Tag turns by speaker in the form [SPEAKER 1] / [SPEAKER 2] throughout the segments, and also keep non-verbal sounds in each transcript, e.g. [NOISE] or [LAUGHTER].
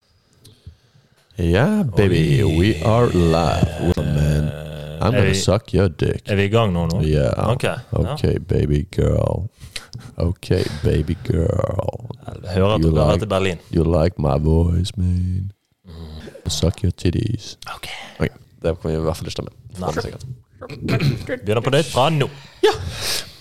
[SPEAKER 1] Oh, Yeah, baby, we are live. Woman, I'm
[SPEAKER 2] Hey.
[SPEAKER 1] gonna suck your dick.
[SPEAKER 2] Er vi i gang nå? nå?
[SPEAKER 1] Yeah.
[SPEAKER 2] Ok. ja.
[SPEAKER 1] Okay, baby girl. Okay, baby girl.
[SPEAKER 2] Jeg hører at
[SPEAKER 1] You
[SPEAKER 2] du hører
[SPEAKER 1] like-
[SPEAKER 2] til Berlin.
[SPEAKER 1] You like my voice, man. Suck your titties.
[SPEAKER 2] Ok.
[SPEAKER 1] Ok, Det kommer vi i hvert fall ikke til å med.
[SPEAKER 2] Nei.
[SPEAKER 1] Det er sikkert.
[SPEAKER 2] Begynner på nytt fra nå.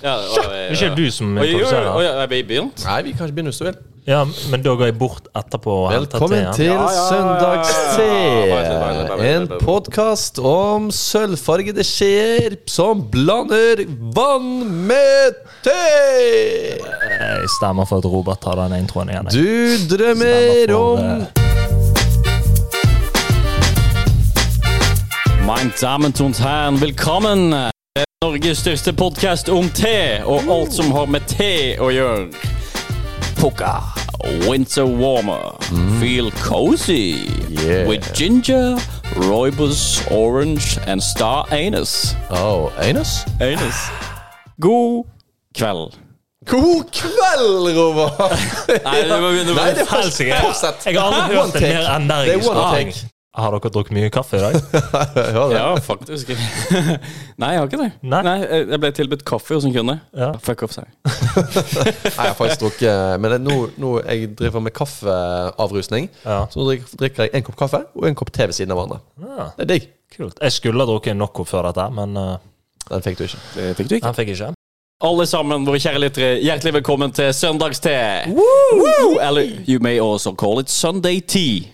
[SPEAKER 3] Ja, og, eh,
[SPEAKER 2] Det er ikke du som
[SPEAKER 3] Oi, oi, oi, oi,
[SPEAKER 2] produserer.
[SPEAKER 3] jeg ble begynt.
[SPEAKER 1] Nei, vi kan ikke begynne hvis du vil.
[SPEAKER 2] Ja, men da går jeg bort etterpå og henter
[SPEAKER 1] Velkommen
[SPEAKER 2] teen.
[SPEAKER 1] til
[SPEAKER 3] Ja, ja, ja, ja.
[SPEAKER 1] Søndagste!
[SPEAKER 3] Bare, bare, bare, bare,
[SPEAKER 1] En
[SPEAKER 3] bare.
[SPEAKER 1] podkast om sølvfargede skjeer som blander vann med te!
[SPEAKER 2] Jeg stemmer for at Robert tar den introen igjen. jeg.
[SPEAKER 1] Du drømmer
[SPEAKER 2] Stemmer for,
[SPEAKER 1] om
[SPEAKER 2] eh,
[SPEAKER 3] Mein Damen und Herren, velkommen! Det er Norges største podkast om te og alt som har med te å gjøre. Pukka. Winter warmer. Feel cozy.
[SPEAKER 1] Yeah.
[SPEAKER 3] With ginger, roibus, orange and star anus.
[SPEAKER 1] Åh, Einars?
[SPEAKER 3] Anus. God kveld.
[SPEAKER 1] God kveld, Robert!
[SPEAKER 3] Nei, du må begynne
[SPEAKER 1] Nei, det er
[SPEAKER 2] Helsike,
[SPEAKER 1] fortsatt.
[SPEAKER 2] jeg-
[SPEAKER 1] fortsatt.
[SPEAKER 2] Jeg har aldri hørt en
[SPEAKER 1] take.
[SPEAKER 2] mer
[SPEAKER 1] Det er
[SPEAKER 2] energisk
[SPEAKER 1] one
[SPEAKER 2] sang.
[SPEAKER 1] take.
[SPEAKER 2] Har dere drukket mye kaffe i dag?
[SPEAKER 1] Hør det.
[SPEAKER 3] Ja, faktisk. [LAUGHS] Nei, jeg har ikke det.
[SPEAKER 2] Nei.
[SPEAKER 3] Jeg ble tilbudt kaffe hos en kunde.
[SPEAKER 2] Ja.
[SPEAKER 3] Fuck off, sa jeg.
[SPEAKER 1] Nei, jeg har faktisk drukket Men det, er nå, nå jeg driver med kaffeavrusning,
[SPEAKER 2] Ja.
[SPEAKER 1] så nå drikker, drikker jeg en kopp kaffe og en kopp te ved siden av hverandre.
[SPEAKER 2] Ja,
[SPEAKER 1] Det er digg.
[SPEAKER 2] Ah, kult. Jeg skulle ha drukket en Nocco før dette, men eh,
[SPEAKER 1] Den fikk du ikke.
[SPEAKER 3] Det fikk du ikke.
[SPEAKER 2] den fikk jeg ikke.
[SPEAKER 3] Alle sammen, våre kjære lyttere, hjertelig velkommen til søndagste. Woo! Eller you may also call it Sunday tea.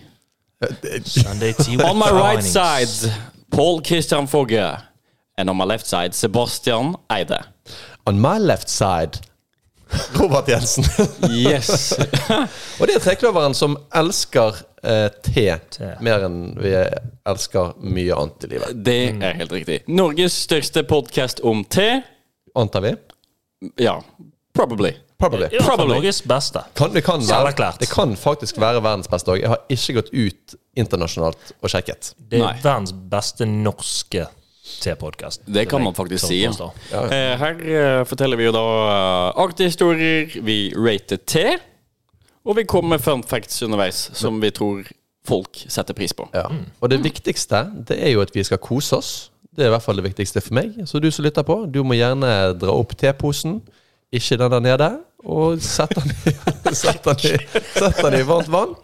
[SPEAKER 2] Sunday tea with
[SPEAKER 3] On my right
[SPEAKER 2] linings.
[SPEAKER 3] side, Paul Christian Fogge. And on my left side, Sebastian Eide.
[SPEAKER 1] On my left side Robert Jensen.
[SPEAKER 3] Yes.
[SPEAKER 1] og det er trekløveren som elsker eh, te,
[SPEAKER 2] Te.
[SPEAKER 1] mer enn vi elsker mye annet i livet.
[SPEAKER 3] [LAUGHS] Det er helt riktig. Norges største podkast om te.
[SPEAKER 1] Antar vi?
[SPEAKER 3] Ja, probably.
[SPEAKER 1] Probably.
[SPEAKER 2] I hvert fall
[SPEAKER 3] Probably.
[SPEAKER 2] Norges beste.
[SPEAKER 1] Kan, det, kan være,
[SPEAKER 2] Selverklært.
[SPEAKER 1] det kan faktisk være verdens beste òg. Jeg har ikke gått ut internasjonalt og sjekket.
[SPEAKER 2] Det
[SPEAKER 3] Nei.
[SPEAKER 2] er verdens beste norske te-podkast.
[SPEAKER 3] Det kan man faktisk si. ja. Eh, Her eh, forteller vi jo da eh, artige historier, vi rater te, og vi kommer med fun facts underveis som vi tror folk setter pris på.
[SPEAKER 1] Ja.
[SPEAKER 2] Mm.
[SPEAKER 1] Og det viktigste det er jo at vi skal kose oss. Det er i hvert fall det viktigste for meg. Så du som lytter på, du må gjerne dra opp teposen, ikke den der nede, og sette den i, [LAUGHS] sette den i, sette den i varmt vann.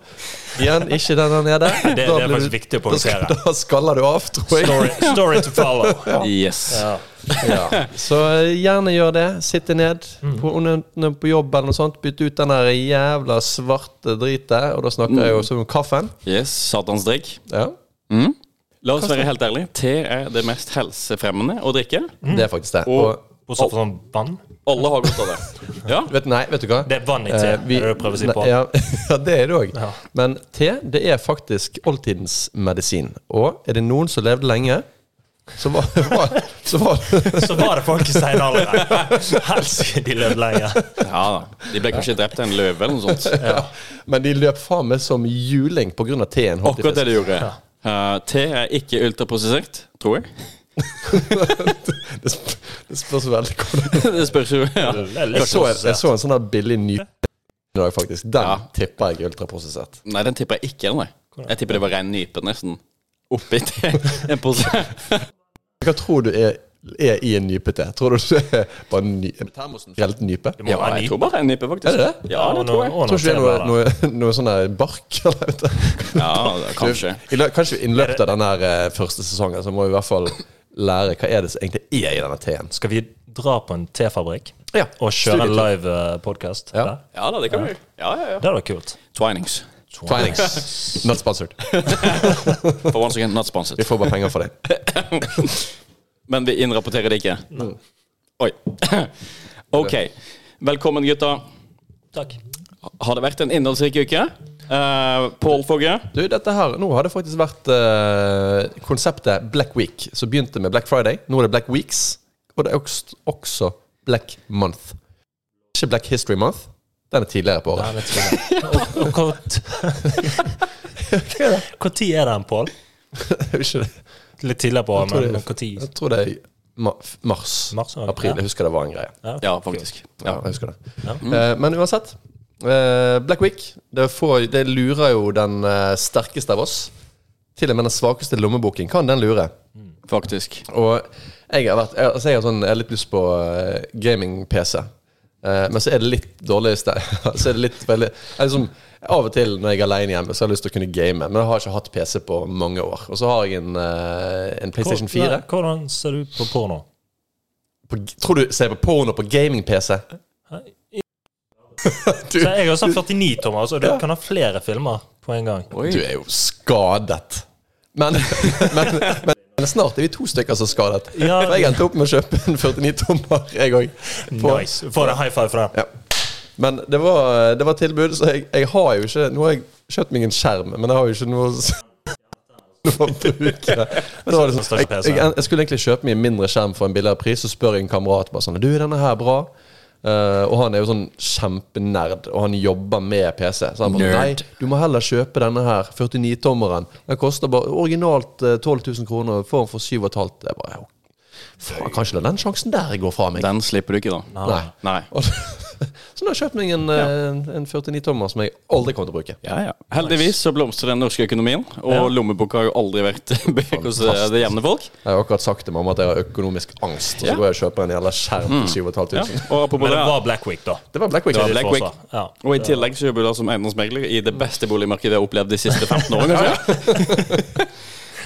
[SPEAKER 1] Igjen, ikke den der nede.
[SPEAKER 2] det er
[SPEAKER 1] Da blir
[SPEAKER 2] faktisk
[SPEAKER 1] du-
[SPEAKER 2] viktig å
[SPEAKER 1] da skal-
[SPEAKER 2] poengtere.
[SPEAKER 1] Da skaller du av, tror jeg.
[SPEAKER 2] Story, story to follow.
[SPEAKER 3] Yes.
[SPEAKER 1] Ja. Så gjerne gjør det. Sitte ned
[SPEAKER 2] Mm.
[SPEAKER 1] på, under- på jobb eller noe sånt. Bytte ut den der jævla svarte dritet, og da snakker jeg jo også om kaffen.
[SPEAKER 3] yes. Satans drikk.
[SPEAKER 1] Ja.
[SPEAKER 3] La oss være helt ærlige. Te er det mest helsefremmende å drikke.
[SPEAKER 2] Mm.
[SPEAKER 1] Det er faktisk det.
[SPEAKER 3] Og-
[SPEAKER 1] Og
[SPEAKER 2] Bortsett fra sånn vann.
[SPEAKER 3] Alle har godt av det. [LAUGHS] Ja.
[SPEAKER 1] vet, nei, vet du hva?
[SPEAKER 2] Det er vann i te,
[SPEAKER 1] Eh, vi-
[SPEAKER 2] er det du prøver å si
[SPEAKER 1] ne-
[SPEAKER 2] på.
[SPEAKER 1] [LAUGHS] Ja, ja, det er det òg.
[SPEAKER 2] Ja.
[SPEAKER 1] Men te det er faktisk oldtidens medisin. Og er det noen som levde lenge, så var, [LAUGHS] var, så var
[SPEAKER 2] [LAUGHS] Så var det folk i steinalderen. Helsike, de levde lenge.
[SPEAKER 3] ja da. De ble kanskje drept av en løve eller noe sånt.
[SPEAKER 1] ja. Men de løp faen meg som juling pga. teen. holdt de
[SPEAKER 3] [LAUGHS] Akkurat
[SPEAKER 1] fest.
[SPEAKER 3] det de gjorde. Eh, te er ikke ultraprosessert, tror jeg. [LAUGHS]
[SPEAKER 1] [LAUGHS] Det sp- det spørs veldig hvordan
[SPEAKER 3] Det spørs jo. Ja.
[SPEAKER 1] Jeg så, en- jeg så en sånn der billig ny i dag, faktisk. Den
[SPEAKER 3] Ja.
[SPEAKER 1] tipper jeg er ultraprosessert.
[SPEAKER 3] Nei, den tipper jeg ikke. Nei. Jeg tipper det var rein nype nesten oppi te. [LAUGHS] En pose.
[SPEAKER 1] Hva tror du er, er i en nype te? Tror du det er bare en ny, en reelt nype?
[SPEAKER 2] Det må
[SPEAKER 3] Ja,
[SPEAKER 2] være
[SPEAKER 3] jeg
[SPEAKER 2] nyp.
[SPEAKER 3] tror bare en nype, faktisk.
[SPEAKER 1] Er det det?
[SPEAKER 3] Ja, det tror jeg.
[SPEAKER 1] Tror ikke det er noe, noe, noe sånn der bark? Eller, vet du?
[SPEAKER 3] Ja, det- kanskje.
[SPEAKER 1] I lø, kanskje i løpet av den her eh, første sesongen så må vi i hvert fall lære hva er det som egentlig er i denne teen.
[SPEAKER 2] Skal vi dra på en tefabrikk
[SPEAKER 1] Ja,
[SPEAKER 2] og kjøre en
[SPEAKER 1] studietur.
[SPEAKER 2] live eh, podkast?
[SPEAKER 1] Ja.
[SPEAKER 2] Det
[SPEAKER 3] Ja da, det kan vi. Ja, ja, ja.
[SPEAKER 2] hadde vært kult.
[SPEAKER 3] Twinings.
[SPEAKER 1] [LAUGHS] Twinings. Not sponsored.
[SPEAKER 3] For once again, not sponsored.
[SPEAKER 1] Vi får bare penger for det.
[SPEAKER 3] Men vi innrapporterer det ikke. Oi. [CLEARS THROAT] OK. Velkommen, gutta.
[SPEAKER 2] Takk.
[SPEAKER 3] Har det vært en innholdsrik uke? Uh, Pål Fogge?
[SPEAKER 1] Du, dette her, Nå har det faktisk vært eh, konseptet Black Week, som begynte med Black Friday. Nå er det Black Weeks, og det er også, også Black Month. Ikke Black History Month. Den er tidligere på
[SPEAKER 2] Nei,
[SPEAKER 1] året.
[SPEAKER 2] vet ikke det. Og-
[SPEAKER 1] [LAUGHS]
[SPEAKER 2] og Hvor [LAUGHS] Hvor tid er den, Pål?
[SPEAKER 1] [LAUGHS] Ikke det.
[SPEAKER 2] Litt tidligere på
[SPEAKER 1] tror
[SPEAKER 2] året,
[SPEAKER 1] det-
[SPEAKER 2] men hvor tid?
[SPEAKER 1] Jeg tror det er ma mars.
[SPEAKER 2] Mars, ja.
[SPEAKER 1] April. Jeg husker det var en greie.
[SPEAKER 3] Ja, faktisk.
[SPEAKER 1] Ja, jeg husker det.
[SPEAKER 2] Ja.
[SPEAKER 1] Eh, men uansett. eh, Black Week, det, får, det lurer jo den eh, sterkeste av oss. til og med den svakeste lommeboken kan den lure.
[SPEAKER 3] faktisk.
[SPEAKER 1] Og jeg har, vært, jeg, altså jeg, har sånn, jeg har litt lyst på eh, gaming-PC. Eh, men så er det litt dårlig ste- [LAUGHS] Så er det litt veldig jeg liksom, Av og til når jeg er alene hjemme, så har jeg lyst til å kunne game. Men jeg har ikke hatt PC på mange år. Og så har jeg en, eh, en PlayStation 4.
[SPEAKER 2] Hvordan- Hvordan ser du på porno?
[SPEAKER 1] På, tror du ser jeg på porno på gaming-PC? Du,
[SPEAKER 2] Så jeg har sånn 49 tommer, så du kan ha flere filmer på en gang.
[SPEAKER 1] du er jo skadet. Men, [LAUGHS] men, men, men snart er vi to stykker som er skadet.
[SPEAKER 2] Ja.
[SPEAKER 1] For jeg endte opp med å kjøpe en 49-tommer, jeg òg.
[SPEAKER 2] Nice. Få en high five for den.
[SPEAKER 1] Ja. Men det var, det var tilbud, så jeg, jeg har jo ikke Nå har jeg kjøpt meg en skjerm, men jeg har jo ikke noe s- [LAUGHS] noe å bruke. Men det var liksom, jeg, jeg, jeg skulle egentlig kjøpe meg en mindre skjerm for en billigere pris, så spør jeg en kamerat bare sånn Du, er denne her bra? Eh, og han er jo sånn kjempenerd, og han jobber med PC. Så han bare Nei,
[SPEAKER 3] Nerd.
[SPEAKER 1] du må heller kjøpe denne her, 49-tommeren. Den koster bare originalt eh, 12 000 kroner, og får den for 7500. Jeg bare «Ja, Faen, kan ikke la den sjansen der gå fra meg.
[SPEAKER 3] Den slipper du ikke, da.
[SPEAKER 1] Nei.
[SPEAKER 3] Nei.
[SPEAKER 1] [LAUGHS] Og så så nå har jeg kjøpt meg en, eh, en, en 49-tommer som jeg aldri kommer til å bruke.
[SPEAKER 3] Ja, ja. Heldigvis så blomstrer den norske økonomien, og lommeboka har jo aldri vært [LAUGHS] bak hos eh, det jevne folk.
[SPEAKER 1] Jeg har akkurat sagt til mamma at jeg har økonomisk angst, så
[SPEAKER 3] Ja.
[SPEAKER 1] da går jeg og kjøper en jævla skjerm til 7500.
[SPEAKER 3] Og apropos
[SPEAKER 2] Men det
[SPEAKER 3] det, ja.
[SPEAKER 2] var Black Week, da.
[SPEAKER 1] Det var Black Week.
[SPEAKER 3] Det var Black Week.
[SPEAKER 2] Forsvar. Ja.
[SPEAKER 3] og i tillegg så jobber du da som eiendomsmegler i det beste boligmarkedet jeg har opplevd de siste 15 [LAUGHS] årene. kanskje?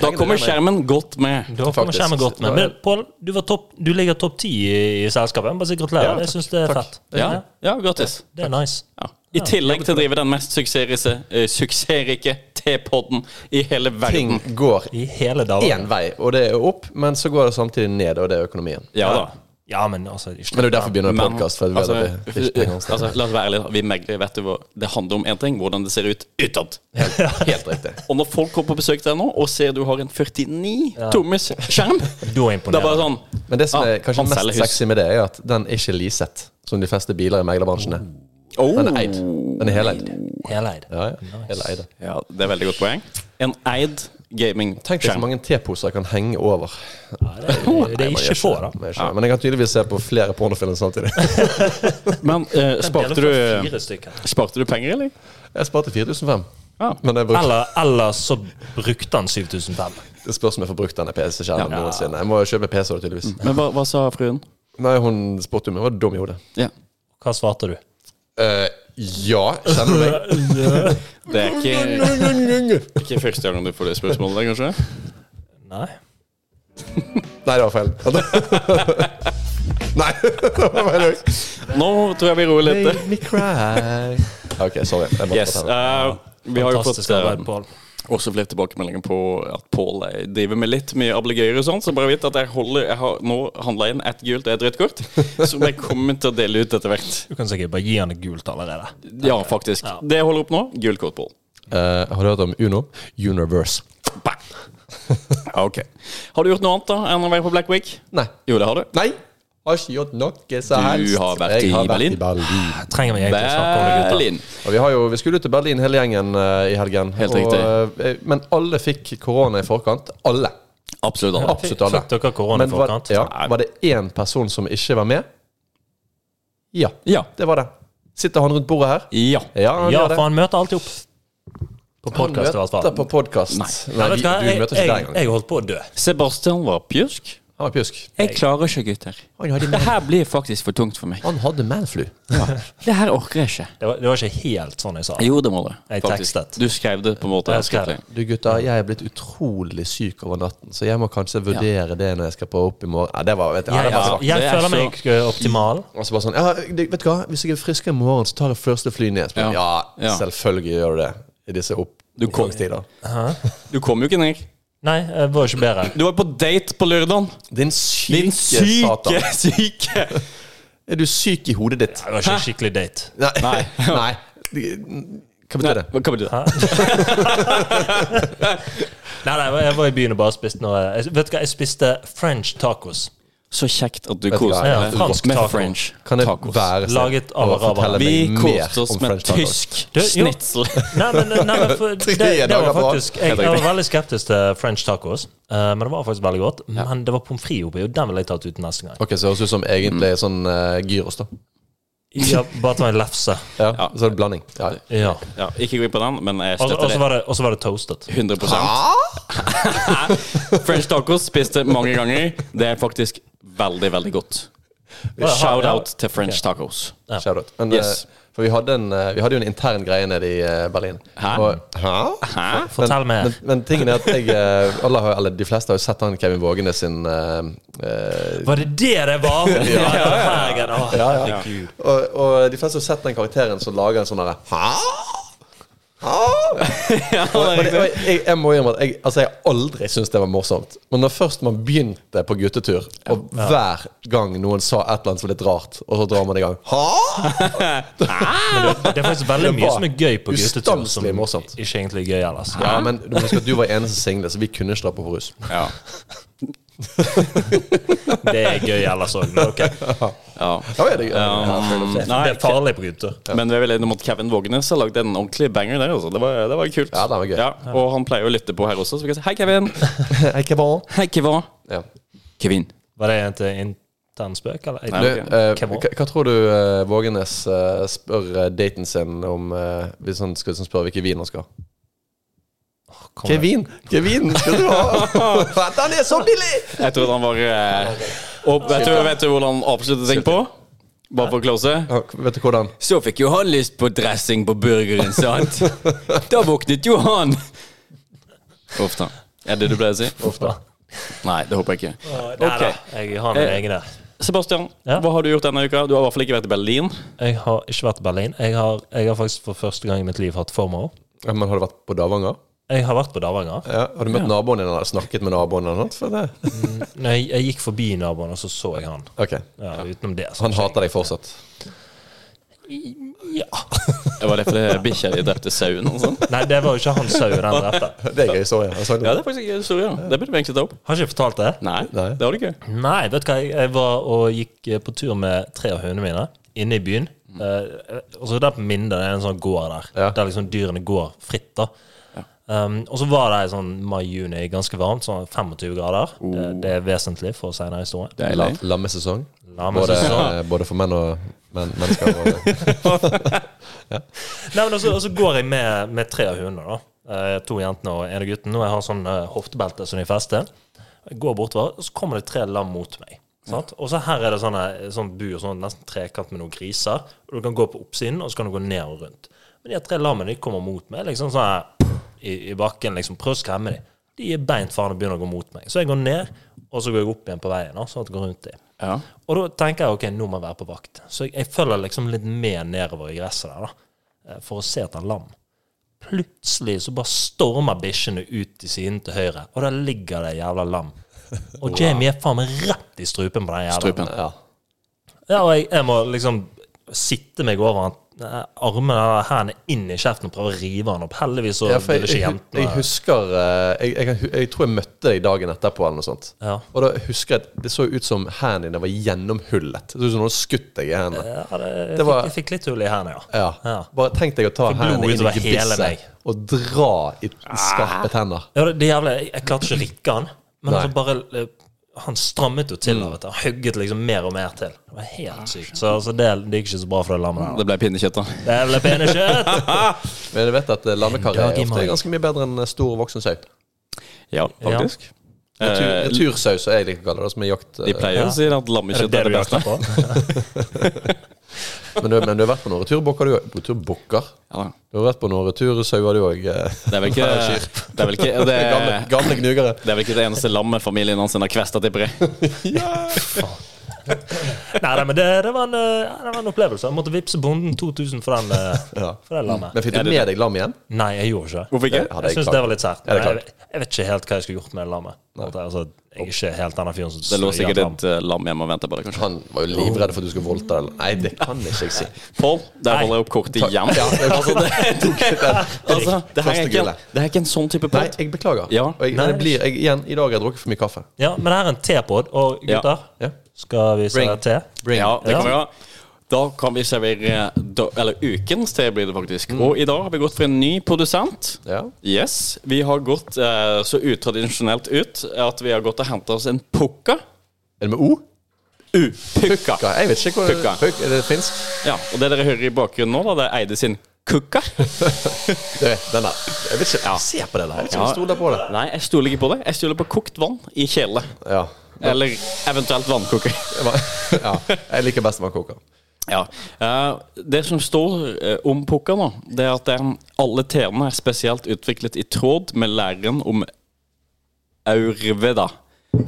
[SPEAKER 3] Da kommer skjermen godt med.
[SPEAKER 2] Da kommer
[SPEAKER 1] Faktisk.
[SPEAKER 2] skjermen godt med. Men Pål, du, var topp- du ligger topp ti i, i selskapet. Bare si gratulerer.
[SPEAKER 1] Ja,
[SPEAKER 2] jeg syns det er
[SPEAKER 1] takk.
[SPEAKER 2] fett.
[SPEAKER 3] Ja, ja gratis.
[SPEAKER 2] Det er nice.
[SPEAKER 3] Ja. I tillegg til å drive den mest suksessrike, eh, suksessrike T-podden i hele
[SPEAKER 1] Ting
[SPEAKER 3] verden.
[SPEAKER 1] går
[SPEAKER 2] I hele dagen.
[SPEAKER 1] én vei, og det er opp, men så går det samtidig ned, og det er økonomien.
[SPEAKER 3] Ja da.
[SPEAKER 2] Ja, men altså ikke-
[SPEAKER 1] Men det er jo derfor vi begynner en
[SPEAKER 3] Men-
[SPEAKER 1] podkast. For
[SPEAKER 3] altså,
[SPEAKER 1] altså,
[SPEAKER 3] [LAUGHS] altså, la oss være ærlige. da. Vi megler, vet du hva det handler om én ting. Hvordan det ser ut utad.
[SPEAKER 1] Helt riktig.
[SPEAKER 3] Og når folk kommer på besøk til deg nå og ser du har en 49 tommes skjerm,
[SPEAKER 2] Du er
[SPEAKER 3] da er det bare
[SPEAKER 2] imponert.
[SPEAKER 3] sånn
[SPEAKER 1] Men det som
[SPEAKER 3] Ah,
[SPEAKER 1] er kanskje
[SPEAKER 3] han selger
[SPEAKER 1] mest
[SPEAKER 3] hus.
[SPEAKER 1] sexy med det, er at den er ikke leaset, som de fleste biler i meglerbransjen er.
[SPEAKER 3] oh,
[SPEAKER 1] Den er eid. Den er heleid.
[SPEAKER 2] Heleid.
[SPEAKER 1] Ja, ja. Heleid.
[SPEAKER 3] Ja, det er veldig godt poeng. En eid
[SPEAKER 1] Tenk deg så
[SPEAKER 3] gaming-skjerm.
[SPEAKER 1] mange teposer jeg kan henge over.
[SPEAKER 2] Det er
[SPEAKER 1] Nei, man
[SPEAKER 2] ikke
[SPEAKER 1] gjør
[SPEAKER 2] få,
[SPEAKER 1] det.
[SPEAKER 2] da.
[SPEAKER 1] Man gjør ikke det. Men jeg kan tydeligvis se på flere pornofilmer samtidig.
[SPEAKER 3] Men eh, sparte,
[SPEAKER 2] Eller
[SPEAKER 3] du,
[SPEAKER 2] fire stykker.
[SPEAKER 3] sparte du penger, eller?
[SPEAKER 1] Jeg sparte 4500.
[SPEAKER 3] Ja.
[SPEAKER 1] Men jeg brukte,
[SPEAKER 2] Eller, eller så brukte han 7500.
[SPEAKER 1] det spørs om jeg får brukt denne PC-skjermen
[SPEAKER 3] Ja. Mm.
[SPEAKER 1] noensinne. Jeg må jo kjøpe PC, da, tydeligvis.
[SPEAKER 3] Men hva, hva sa fruen?
[SPEAKER 1] Nei, hun spurte om jeg var dum i hodet.
[SPEAKER 3] Ja.
[SPEAKER 2] Hva svarte du?
[SPEAKER 1] Eh, ja, kjenner
[SPEAKER 2] [LAUGHS]
[SPEAKER 1] du meg?
[SPEAKER 3] Det er ikke, ikke første gang du får det spørsmålet, der, kanskje?
[SPEAKER 2] Nei.
[SPEAKER 1] Nei, [LAUGHS] det var feil. Nei, det var feil òg.
[SPEAKER 3] Nå tror jeg vi roer litt.
[SPEAKER 1] me cry. OK, sorry. Jeg måtte
[SPEAKER 3] Yes.
[SPEAKER 1] ta den.
[SPEAKER 3] eh, vi har jo fått
[SPEAKER 2] Fantastisk
[SPEAKER 3] eh,
[SPEAKER 2] arbeid, Pål.
[SPEAKER 3] også flere tilbakemeldinger på at Pål eh, driver med litt mye ablegøyer og sånn, så bare vit at jeg holder Jeg har nå handla inn ett gult og ett rødt kort, som jeg kommer til å dele ut etter hvert.
[SPEAKER 2] Du kan sikkert bare gi han et gult allerede.
[SPEAKER 3] Ja, faktisk. Det holder opp nå. Gult kort, Pål.
[SPEAKER 1] Eh, har du hørt om Uno? Universe.
[SPEAKER 3] Bang. Ja, Ok. Har du gjort noe annet da enn å være på Black Week?
[SPEAKER 1] Nei.
[SPEAKER 3] Jo, det har du.
[SPEAKER 1] Nei! Har ikke gjort noe som helst.
[SPEAKER 3] har vært
[SPEAKER 1] Jeg
[SPEAKER 3] i
[SPEAKER 1] har
[SPEAKER 3] Berlin.
[SPEAKER 1] vært i Berlin.
[SPEAKER 2] Trenger vi egentlig å snakke om det, gutter?
[SPEAKER 3] Berlin.
[SPEAKER 1] Og vi, har jo, vi skulle jo til Berlin hele gjengen eh, i helgen.
[SPEAKER 3] Helt
[SPEAKER 1] og,
[SPEAKER 3] riktig.
[SPEAKER 1] eh, men alle fikk korona i forkant. Alle.
[SPEAKER 3] Absolutt. alle.
[SPEAKER 1] Absolutt alle.
[SPEAKER 2] Fikk dere korona i
[SPEAKER 1] Men var,
[SPEAKER 2] forkant?
[SPEAKER 1] ja, var det én person som ikke var med? Ja,
[SPEAKER 3] Ja.
[SPEAKER 1] det var det. Sitter han rundt bordet her?
[SPEAKER 3] Ja.
[SPEAKER 1] Ja, han
[SPEAKER 2] Ja,
[SPEAKER 1] gjør det.
[SPEAKER 2] for han møter alltid opp. På
[SPEAKER 1] Han
[SPEAKER 2] podkast, i hvert fall.
[SPEAKER 1] møter på podkast. Nei,
[SPEAKER 2] Ja, vet
[SPEAKER 1] vi,
[SPEAKER 2] du hva?
[SPEAKER 1] du
[SPEAKER 2] Jeg,
[SPEAKER 1] møter ikke der
[SPEAKER 2] jeg,
[SPEAKER 1] engang.
[SPEAKER 2] jeg holdt på å dø.
[SPEAKER 3] Sebastian var pjusk.
[SPEAKER 1] Han var pjusk.
[SPEAKER 3] Jeg klarer ikke, gutter.
[SPEAKER 1] Han hadde,
[SPEAKER 3] Det her blir faktisk for tungt for meg.
[SPEAKER 1] han hadde manflu.
[SPEAKER 3] Det her orker jeg ikke.
[SPEAKER 2] Det var, det var ikke helt sånn jeg sa.
[SPEAKER 3] Jo, det må du.
[SPEAKER 2] Jeg tekstet.
[SPEAKER 3] Du skrev det på en måte.
[SPEAKER 2] Jeg skrev det.
[SPEAKER 1] Du gutta, jeg er blitt utrolig syk over natten, så jeg må kanskje vurdere det når jeg skal på opp i morgen. Ja, det var, vet du, ja,
[SPEAKER 2] Jeg,
[SPEAKER 1] det var svakt.
[SPEAKER 2] jeg
[SPEAKER 3] Det er
[SPEAKER 2] føler
[SPEAKER 3] så-
[SPEAKER 2] meg eh, optimal.
[SPEAKER 1] Og så bare sånn ja, det, Vet du hva, hvis jeg er frisk i morgen, så tar jeg første fly ned. Så bare, ja.
[SPEAKER 3] Ja. Ja.
[SPEAKER 1] selvfølgelig gjør du det. I disse oppgangstider.
[SPEAKER 3] Du kom jo ikke ned.
[SPEAKER 2] Nei, jeg var ikke bedre.
[SPEAKER 3] Du var på date på lørdagen.
[SPEAKER 1] Din syke,
[SPEAKER 3] Din syke,
[SPEAKER 1] satan.
[SPEAKER 3] syke
[SPEAKER 1] Er du syk i hodet ditt?
[SPEAKER 2] Det var ikke en skikkelig date.
[SPEAKER 1] [LAUGHS] Nei.
[SPEAKER 3] Nei.
[SPEAKER 1] Nei. Hva betyr det?
[SPEAKER 3] Hva betyr det?
[SPEAKER 2] Nei, nei, jeg var i byen og bare spiste noe jeg, Vet du hva, jeg spiste French tacos.
[SPEAKER 3] Så kjekt at du
[SPEAKER 1] Vet du
[SPEAKER 3] koser
[SPEAKER 1] hva,
[SPEAKER 2] ja,
[SPEAKER 3] deg
[SPEAKER 2] fransk
[SPEAKER 3] med
[SPEAKER 2] taco.
[SPEAKER 3] French
[SPEAKER 1] Kan det
[SPEAKER 3] tacos.
[SPEAKER 1] være snill
[SPEAKER 2] Laget av
[SPEAKER 1] og fortelle
[SPEAKER 2] arabere.
[SPEAKER 3] Vi
[SPEAKER 1] meg mer
[SPEAKER 3] koste oss
[SPEAKER 1] om
[SPEAKER 3] med
[SPEAKER 1] French tacos?
[SPEAKER 3] tysk
[SPEAKER 2] Du, jo.
[SPEAKER 3] snitsel.
[SPEAKER 2] Nei, men, nei, men
[SPEAKER 1] [LAUGHS]
[SPEAKER 2] for, det,
[SPEAKER 1] Tre
[SPEAKER 2] det
[SPEAKER 1] dager
[SPEAKER 2] var
[SPEAKER 1] på rad.
[SPEAKER 2] faktisk jeg,
[SPEAKER 3] Helt
[SPEAKER 2] jeg var
[SPEAKER 3] riktig.
[SPEAKER 2] veldig skeptisk til French tacos, eh, men det var faktisk veldig godt. Men
[SPEAKER 1] [LAUGHS]
[SPEAKER 2] det var pommes frites oppi, og den ville jeg tatt ut neste gang.
[SPEAKER 3] Mm.
[SPEAKER 1] Ok, så det høres ut som egentlig sånn eh, gyros, da.
[SPEAKER 2] Ja, bare ta en lefse.
[SPEAKER 1] Ja, Så en blanding. Ja.
[SPEAKER 2] Ja.
[SPEAKER 3] Ja, ikke gå inn på den, men jeg
[SPEAKER 1] Altså,
[SPEAKER 2] Og og
[SPEAKER 3] støtter
[SPEAKER 2] så
[SPEAKER 3] det
[SPEAKER 2] var, det- og så var det toasted.
[SPEAKER 1] Ah.
[SPEAKER 3] 100 French tacos spiste mange ganger. Det er faktisk veldig, veldig godt. Shout-out til French tacos.
[SPEAKER 2] Ja.
[SPEAKER 1] Shoutout. Men,
[SPEAKER 3] Yes.
[SPEAKER 1] eh, for vi hadde, en, eh, vi hadde jo en intern greie nede i eh, Berlin.
[SPEAKER 3] Hæ?
[SPEAKER 1] Og, Hæ?
[SPEAKER 3] Hæ?
[SPEAKER 2] Fortell
[SPEAKER 1] men,
[SPEAKER 2] mer.
[SPEAKER 1] Men, men tingen er at jeg, eh, alle har, eller de fleste har jo sett han Kevin Vågene sin eh, eh,
[SPEAKER 2] Var det det det var? [LAUGHS] Ja, ja, ja. Å, herregud.
[SPEAKER 1] og, og de fleste har sett den karakteren som lager en sånn derre Hæ?
[SPEAKER 2] [LAUGHS]
[SPEAKER 1] Hæ? Og, og det, og jeg, jeg må innrømme at jeg, altså jeg har aldri syntes det var morsomt. Men når først man begynte på guttetur, og hver gang noen sa et eller annet som var litt rart, og så drar man i gang Hæ?
[SPEAKER 2] Men det, det er faktisk veldig
[SPEAKER 1] Det
[SPEAKER 2] mye
[SPEAKER 1] var
[SPEAKER 2] som er gøy på guttetur, som
[SPEAKER 1] ustanselig morsomt.
[SPEAKER 2] ikke egentlig er gøy ellers.
[SPEAKER 1] Ja, men du må huske at du var eneste single, så vi kunne ikke dra på rus.
[SPEAKER 3] Ja.
[SPEAKER 2] Det er gøy ellers òg, men
[SPEAKER 1] [LAUGHS]
[SPEAKER 2] ok.
[SPEAKER 3] ja.
[SPEAKER 1] Ja, det er gøy. [LAUGHS]
[SPEAKER 3] Um, nei,
[SPEAKER 2] Det er farlig på guttetur.
[SPEAKER 3] men vi er vel enige om at Kevin Vågenes har lagd en ordentlig banger der. Altså. Det, var, det var kult.
[SPEAKER 1] Ja, det var gøy.
[SPEAKER 3] og han pleier å lytte på her også, så vi kan si hei, [LAUGHS] Kevin.
[SPEAKER 1] Hei, hva var det?
[SPEAKER 3] Hei, Kevin.
[SPEAKER 1] Ja.
[SPEAKER 3] Kevin.
[SPEAKER 2] Var det en til intern spøk, eller?
[SPEAKER 1] Du,
[SPEAKER 3] Nei. Ok.
[SPEAKER 1] eh,
[SPEAKER 2] Hvem var?
[SPEAKER 1] hva, hva tror du eh, Vågenes eh, spør eh, daten sin om eh, Hvis han skal som spør hvilken vin han skal ha?
[SPEAKER 2] Kom
[SPEAKER 1] Hvilken
[SPEAKER 2] igjen.
[SPEAKER 1] vin? Hvilken vin skal du [LAUGHS] ha? den er så billig!
[SPEAKER 3] Jeg trodde han var eh, Og vet du, vet du hvordan han avsluttet ting på? Bare for å close?
[SPEAKER 1] Ja, vet du hvordan?
[SPEAKER 3] Så fikk jo han lyst på dressing på burgeren, [LAUGHS] sant? Da våknet jo han! Uff da. Er det det du pleier å si?
[SPEAKER 2] Uff da.
[SPEAKER 3] Nei, det håper jeg ikke.
[SPEAKER 2] Nei da, jeg har min
[SPEAKER 3] Eh.
[SPEAKER 2] egen der.
[SPEAKER 3] Sebastian,
[SPEAKER 2] Ja?
[SPEAKER 3] hva har du gjort denne uka? Du har i hvert fall ikke vært i Berlin.
[SPEAKER 2] Jeg har ikke vært i Berlin. Jeg har, jeg har faktisk for første gang i mitt liv hatt FOMO.
[SPEAKER 1] Ja, men Har du vært på Davanger?
[SPEAKER 2] Jeg har vært på Davanger.
[SPEAKER 1] Ja, har du møtt naboen din eller snakket med naboen? eller noe? sånt? For det?
[SPEAKER 2] Når jeg, jeg gikk forbi naboen, og så så jeg han.
[SPEAKER 1] Ok,
[SPEAKER 2] Ja, utenom det. Så.
[SPEAKER 1] Han hater deg fortsatt.
[SPEAKER 2] Ja.
[SPEAKER 3] Det var det fordi bikkja di drepte sauen og sånn.
[SPEAKER 2] Nei, det var jo ikke han sau den
[SPEAKER 1] [LAUGHS]
[SPEAKER 2] drepte.
[SPEAKER 1] Det er gøy historie. Jeg sa det.
[SPEAKER 3] Ja, det er faktisk en gøy historie. da. Det burde vi egentlig ta opp.
[SPEAKER 2] Har ikke jeg fortalt det?
[SPEAKER 3] Nei,
[SPEAKER 1] Nei.
[SPEAKER 3] det har du ikke.
[SPEAKER 2] Nei, vet du hva. Jeg, jeg var og gikk eh, på tur med tre av hundene mine inne i byen. Eh, og så der på Minde, det er en sånn gård der,
[SPEAKER 1] Mm. Ja.
[SPEAKER 2] der liksom dyrene går fritt. da. Um, og så var det i sånn mai-juni ganske varmt, sånn 25 grader.
[SPEAKER 1] Oh.
[SPEAKER 2] Det, det er vesentlig for senere historie.
[SPEAKER 1] La,
[SPEAKER 3] Deilig.
[SPEAKER 1] lammesesong. Både,
[SPEAKER 2] Lammesesong.
[SPEAKER 1] eh, både for menn og men, mennesker. Og,
[SPEAKER 2] Nei, men også, også går jeg med, med tre av hundene, da. Eh, to jentene og en av gutten. Og jeg har sånn eh, hoftebelte som de fester. Jeg går bortover, og så kommer det tre lam mot meg. Sant? Og så her er det sånne, sånn bur, sånn nesten trekant med noen griser. Og du kan gå på oppsiden, og så kan du gå ned og rundt. Men de her tre lammene de kommer mot meg liksom sånn her, i, i bakken. liksom Prøv å skremme dem. De gir beint faen og begynner å gå mot meg. Så jeg går ned, og så går jeg opp igjen på veien. da, Sånn at jeg går rundt dem.
[SPEAKER 3] Ja.
[SPEAKER 2] Og da tenker jeg ok, nå må jeg være på vakt. Så jeg, jeg følger liksom litt med nedover i gresset der, da, eh, for å se etter lam. Plutselig så bare stormer bikkjene ut til siden til høyre, og der ligger det jævla
[SPEAKER 1] [LAUGHS]
[SPEAKER 2] lam. Og Jamie er faen meg rett i strupen på den jævla
[SPEAKER 3] Strupen.
[SPEAKER 1] [LAUGHS] ja.
[SPEAKER 2] Ja, og jeg, jeg må liksom sitte meg over han. eh, Armene eller hendene inn i kjeften og prøve å rive han opp. Heldigvis så
[SPEAKER 1] Ja, for
[SPEAKER 2] ville
[SPEAKER 1] jeg, jeg,
[SPEAKER 2] ikke
[SPEAKER 1] jeg
[SPEAKER 2] jentene
[SPEAKER 1] husker eh, jeg, jeg, kan hu- jeg tror jeg møtte deg dagen etterpå eller noe sånt.
[SPEAKER 2] Ja.
[SPEAKER 1] Og da husker jeg at det så ut som hendene dine var gjennomhullet. Det så ut som noen skutt deg i hendene.
[SPEAKER 2] Ja, det, jeg,
[SPEAKER 1] Det var-
[SPEAKER 2] fikk, jeg fikk litt hull i hendene, ja.
[SPEAKER 1] Ja.
[SPEAKER 2] Eh, Ja.
[SPEAKER 1] Bare tenk deg å ta
[SPEAKER 2] Fikk blod
[SPEAKER 1] hendene inn i
[SPEAKER 2] utover hele meg.
[SPEAKER 1] gebisset og dra i skarpet hender.
[SPEAKER 2] Ja, det, det jævla, jeg, jeg klarte ikke å rikke han. Men
[SPEAKER 1] Nei.
[SPEAKER 2] altså bare eh, Han strammet jo til. Mm. Han hugget liksom mer og mer til. Det var helt sykt. Så altså, det, det gikk ikke så bra for det lammet. der.
[SPEAKER 3] Det ble pinnekjøtt, da.
[SPEAKER 2] Det ble pene kjøtt!
[SPEAKER 1] Men du vet at eh, lammekar
[SPEAKER 2] En
[SPEAKER 1] er
[SPEAKER 2] dag i
[SPEAKER 1] ofte
[SPEAKER 2] mai.
[SPEAKER 1] ganske mye bedre enn eh, stor voksen sau.
[SPEAKER 3] Ja, faktisk.
[SPEAKER 1] Natur,
[SPEAKER 3] Eh,
[SPEAKER 1] natursaus, som jeg liker å kalle det, som er jakt... eh,
[SPEAKER 3] de pleier
[SPEAKER 2] Ja.
[SPEAKER 3] å si at
[SPEAKER 2] Er det
[SPEAKER 3] lammekjøtt
[SPEAKER 2] det
[SPEAKER 3] er
[SPEAKER 2] du
[SPEAKER 3] det beste.
[SPEAKER 2] jakter på?
[SPEAKER 1] Men, du, men du har vært på noen returbukker, du òg. Returbukker?
[SPEAKER 3] Ja, da.
[SPEAKER 1] Du har vært på noen retursauer, du òg.
[SPEAKER 3] det er vel ikke Det er vel ikke det,
[SPEAKER 1] [LAUGHS] Gamle, gamle gnugere.
[SPEAKER 3] det, er vel ikke det eneste lammet familien hans har kvesta, tipper jeg.
[SPEAKER 2] Nei, nei, men det, det, var en, eh, ja, det var en opplevelse. Jeg måtte vippse bonden 2000 for, den, eh,
[SPEAKER 1] Ja.
[SPEAKER 2] for det lammet.
[SPEAKER 1] Men fikk du med deg lam igjen?
[SPEAKER 2] Nei, jeg gjorde ikke det.
[SPEAKER 3] Hvorfor ikke?
[SPEAKER 1] Ja, det er
[SPEAKER 2] Jeg syns
[SPEAKER 1] klart.
[SPEAKER 2] det var litt sært.
[SPEAKER 1] Ja, det er
[SPEAKER 2] Jeg, jeg vet ikke helt hva jeg skulle gjort med det lammet. Altså, jeg er ikke helt denne fyren som
[SPEAKER 3] Det lå
[SPEAKER 2] slår i
[SPEAKER 3] sikkert
[SPEAKER 2] et lam.
[SPEAKER 3] et eh, lam hjemme og venta på deg, kanskje.
[SPEAKER 1] Han var jo livredd for at du skulle voldta eller Nei, det kan ikke jeg si.
[SPEAKER 3] Pål, der holder jeg opp kortet igjen.
[SPEAKER 1] Ja, det-
[SPEAKER 3] altså, det, altså, det, her
[SPEAKER 1] Første
[SPEAKER 3] er ikke, en-
[SPEAKER 1] gullet.
[SPEAKER 3] det her er ikke en sånn type
[SPEAKER 1] Nei,
[SPEAKER 3] pott.
[SPEAKER 1] jeg beklager.
[SPEAKER 3] Ja.
[SPEAKER 1] Og jeg, jeg blir, jeg, igjen, I dag har jeg drukket for mye kaffe.
[SPEAKER 2] Ja, men det her er en tepod, og
[SPEAKER 3] Ja.
[SPEAKER 2] gutter,
[SPEAKER 1] Ja.
[SPEAKER 2] skal vi se
[SPEAKER 1] Bring.
[SPEAKER 2] te?
[SPEAKER 3] Ja, det
[SPEAKER 2] Ja.
[SPEAKER 3] kan vi ha. Da kan vi servere da, Eller ukens te blir det faktisk. Og i dag har vi gått for en ny produsent.
[SPEAKER 1] Ja.
[SPEAKER 3] Yes. Vi har gått eh, så utradisjonelt ut at vi har gått og henta oss en pukka.
[SPEAKER 1] Er det med O?
[SPEAKER 3] U. Pukka.
[SPEAKER 1] Hva? Jeg vet ikke hva
[SPEAKER 3] Pukka.
[SPEAKER 1] Puk, Er det finsk?
[SPEAKER 3] Ja, og det dere hører i bakgrunnen nå, da, det er Eide sin kukka.
[SPEAKER 1] Det, den der. Jeg vet ikke. Se på det der. Jeg vet ikke om
[SPEAKER 3] Ja.
[SPEAKER 1] jeg stoler på det.
[SPEAKER 3] Nei, jeg stoler ikke på det. Jeg stoler på kokt vann i kjele.
[SPEAKER 1] Ja.
[SPEAKER 3] Eller eventuelt vannkoker. [LAUGHS]
[SPEAKER 1] Det var- [LAUGHS] ja. Jeg liker best når man koker.
[SPEAKER 3] Ja. eh, det som står eh, om pukka nå, det er at eh, alle T-ene er spesielt utviklet i tråd med læren om aurveda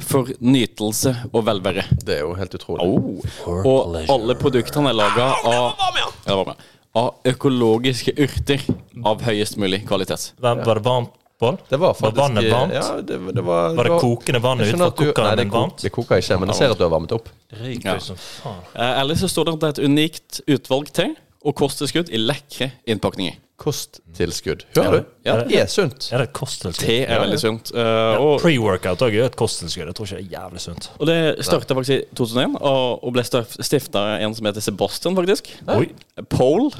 [SPEAKER 3] for nytelse og velvære.
[SPEAKER 1] Det er jo helt utrolig.
[SPEAKER 3] Og alle produktene er laga av, Ja, det var med. av økologiske urter av høyest mulig kvalitet.
[SPEAKER 2] Var, var det varmt bål?
[SPEAKER 1] Det var faktisk
[SPEAKER 2] Var vannet varmt?
[SPEAKER 1] Ja, det, det var,
[SPEAKER 2] Var det kokende vann
[SPEAKER 1] Jeg
[SPEAKER 2] ut?
[SPEAKER 1] skjønner
[SPEAKER 2] Var
[SPEAKER 1] at du- Nei,
[SPEAKER 2] kokeren
[SPEAKER 1] det,
[SPEAKER 2] din
[SPEAKER 1] ko-
[SPEAKER 2] varmt?
[SPEAKER 1] det koker ikke, men jeg ser at du har varmet opp.
[SPEAKER 2] Ryker
[SPEAKER 3] Ja.
[SPEAKER 2] jo som faen.
[SPEAKER 3] Eh, ellers så står det at det er et unikt utvalg te og kosttilskudd i lekre innpakninger.
[SPEAKER 1] Kosttilskudd. Hører du?
[SPEAKER 3] Ja.
[SPEAKER 1] Det er sunt.
[SPEAKER 2] Er det et kosttilskudd?
[SPEAKER 3] Te er veldig sunt. eh, og
[SPEAKER 2] Pre-workout også er jo et kosttilskudd. Jeg tror ikke det er jævlig sunt.
[SPEAKER 3] Og det starta faktisk i 2001, og, og ble stifta en som heter Sebastian, faktisk.
[SPEAKER 2] Oi.
[SPEAKER 3] Pole.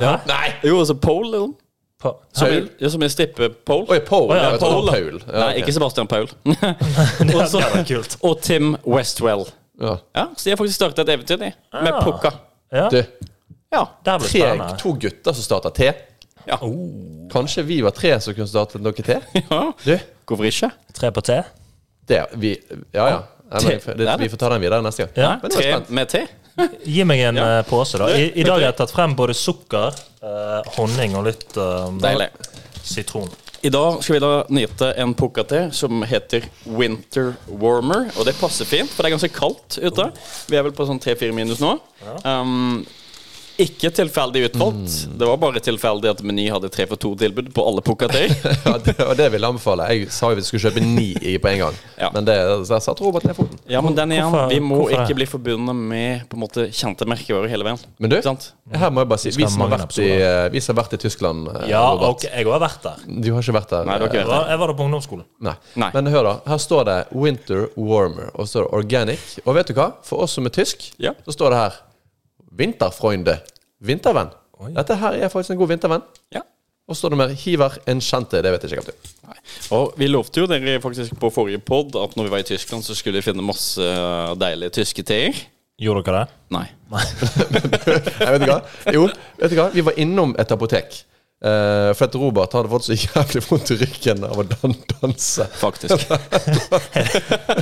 [SPEAKER 2] Ja.
[SPEAKER 1] Nei!
[SPEAKER 3] Jo, altså Pole, liksom.
[SPEAKER 2] Pa-
[SPEAKER 3] Som,
[SPEAKER 1] Paul?
[SPEAKER 3] ja, som en stippe-pole.
[SPEAKER 1] Oi, Paul.
[SPEAKER 2] ja,
[SPEAKER 1] Ja, jeg tror det
[SPEAKER 3] Paul,
[SPEAKER 1] var
[SPEAKER 3] da.
[SPEAKER 1] Paul.
[SPEAKER 3] Nei,
[SPEAKER 1] ok.
[SPEAKER 3] ikke Sebastian [LAUGHS] Paul.
[SPEAKER 2] [LAUGHS] Det
[SPEAKER 3] så-
[SPEAKER 2] hadde vært kult.
[SPEAKER 3] og Tim Westwell.
[SPEAKER 1] ja.
[SPEAKER 3] Ja, Så de har faktisk starta et eventyr, de. Med
[SPEAKER 2] Ah.
[SPEAKER 3] pukka.
[SPEAKER 2] Ja,
[SPEAKER 1] Du,
[SPEAKER 2] det
[SPEAKER 3] Ja.
[SPEAKER 2] blir
[SPEAKER 1] tre,
[SPEAKER 2] spennende.
[SPEAKER 1] to gutter som starter te.
[SPEAKER 3] Ja.
[SPEAKER 1] Oh. Kanskje vi var tre som kunne startet noe te?
[SPEAKER 3] ja.
[SPEAKER 1] Du,
[SPEAKER 3] Hvorfor ikke?
[SPEAKER 2] Tre på te?
[SPEAKER 1] det vi Ja, ja. Nei, men,
[SPEAKER 3] Te-
[SPEAKER 1] det, vi får ta den videre neste gang.
[SPEAKER 2] Ja.
[SPEAKER 1] Men nå er
[SPEAKER 3] Tre
[SPEAKER 1] jeg spent. [LAUGHS]
[SPEAKER 3] med te?
[SPEAKER 2] Gi meg en eh, pose, da. I, I
[SPEAKER 3] Du,
[SPEAKER 2] dag har
[SPEAKER 3] vet
[SPEAKER 2] jeg tatt frem både sukker, eh, honning og litt eh,
[SPEAKER 3] Deilig.
[SPEAKER 2] sitron.
[SPEAKER 3] I dag skal vi da nyte en pukka-te som heter Winter Warmer. Og det passer fint, for det er ganske kaldt ute. Vi er vel på sånn 3-4 minus nå. Um, ikke tilfeldig utvalgt.
[SPEAKER 1] Mm.
[SPEAKER 3] Det var bare tilfeldig at Meny hadde 3 for 2-tilbud på
[SPEAKER 1] [LAUGHS]
[SPEAKER 3] alle pukka-teer.
[SPEAKER 1] Ja, det, og det vil jeg anbefale. Jeg sa jo vi skulle kjøpe ni i på en gang,
[SPEAKER 3] Ja.
[SPEAKER 1] men det, altså, der satt Robert ned foten.
[SPEAKER 3] Ja, men den igjen.
[SPEAKER 2] Hvorfor-
[SPEAKER 3] Vi må
[SPEAKER 2] hvorfor det?
[SPEAKER 3] ikke bli forbundet med på en måte kjente merkevarer hele veien.
[SPEAKER 1] Men du,
[SPEAKER 3] Ikke sant?
[SPEAKER 1] her må jeg bare si
[SPEAKER 2] skal
[SPEAKER 1] Vi
[SPEAKER 2] ha
[SPEAKER 1] som har
[SPEAKER 2] mange
[SPEAKER 1] vært i, eh, vi som har vært i Tyskland, eh,
[SPEAKER 2] Ja,
[SPEAKER 1] Robert.
[SPEAKER 2] ok, jeg har vært der.
[SPEAKER 1] Du har ikke vært der?
[SPEAKER 3] Nei, det var
[SPEAKER 2] Jeg
[SPEAKER 3] ikke det.
[SPEAKER 2] var, jeg var der på ungdomsskolen.
[SPEAKER 1] Nei.
[SPEAKER 3] Nei.
[SPEAKER 1] Men hør, da. Her står det 'Winter Warmer', og så står det 'Organic'. Og vet du hva? For oss som er tysk,
[SPEAKER 3] Ja.
[SPEAKER 1] så står det her 'Winterfreunde'. Vintervenn. Dette her er faktisk en god vintervenn.
[SPEAKER 3] Ja.
[SPEAKER 1] Og så står det mer 'Hiver en kjente'. Det vet jeg ikke hva det
[SPEAKER 3] Nei. Og vi lovte jo dere faktisk på forrige pod at når vi var i Tyskland, så skulle vi finne masse eh, deilige tyske teer.
[SPEAKER 2] Gjorde dere det?
[SPEAKER 3] Nei.
[SPEAKER 1] [LAUGHS] Nei, vet du hva? Jo, vet du hva? Vi var innom et apotek. eh, for at Robert hadde fått så jævlig vondt i ryggen av å dan danse. [LAUGHS]
[SPEAKER 3] Faktisk.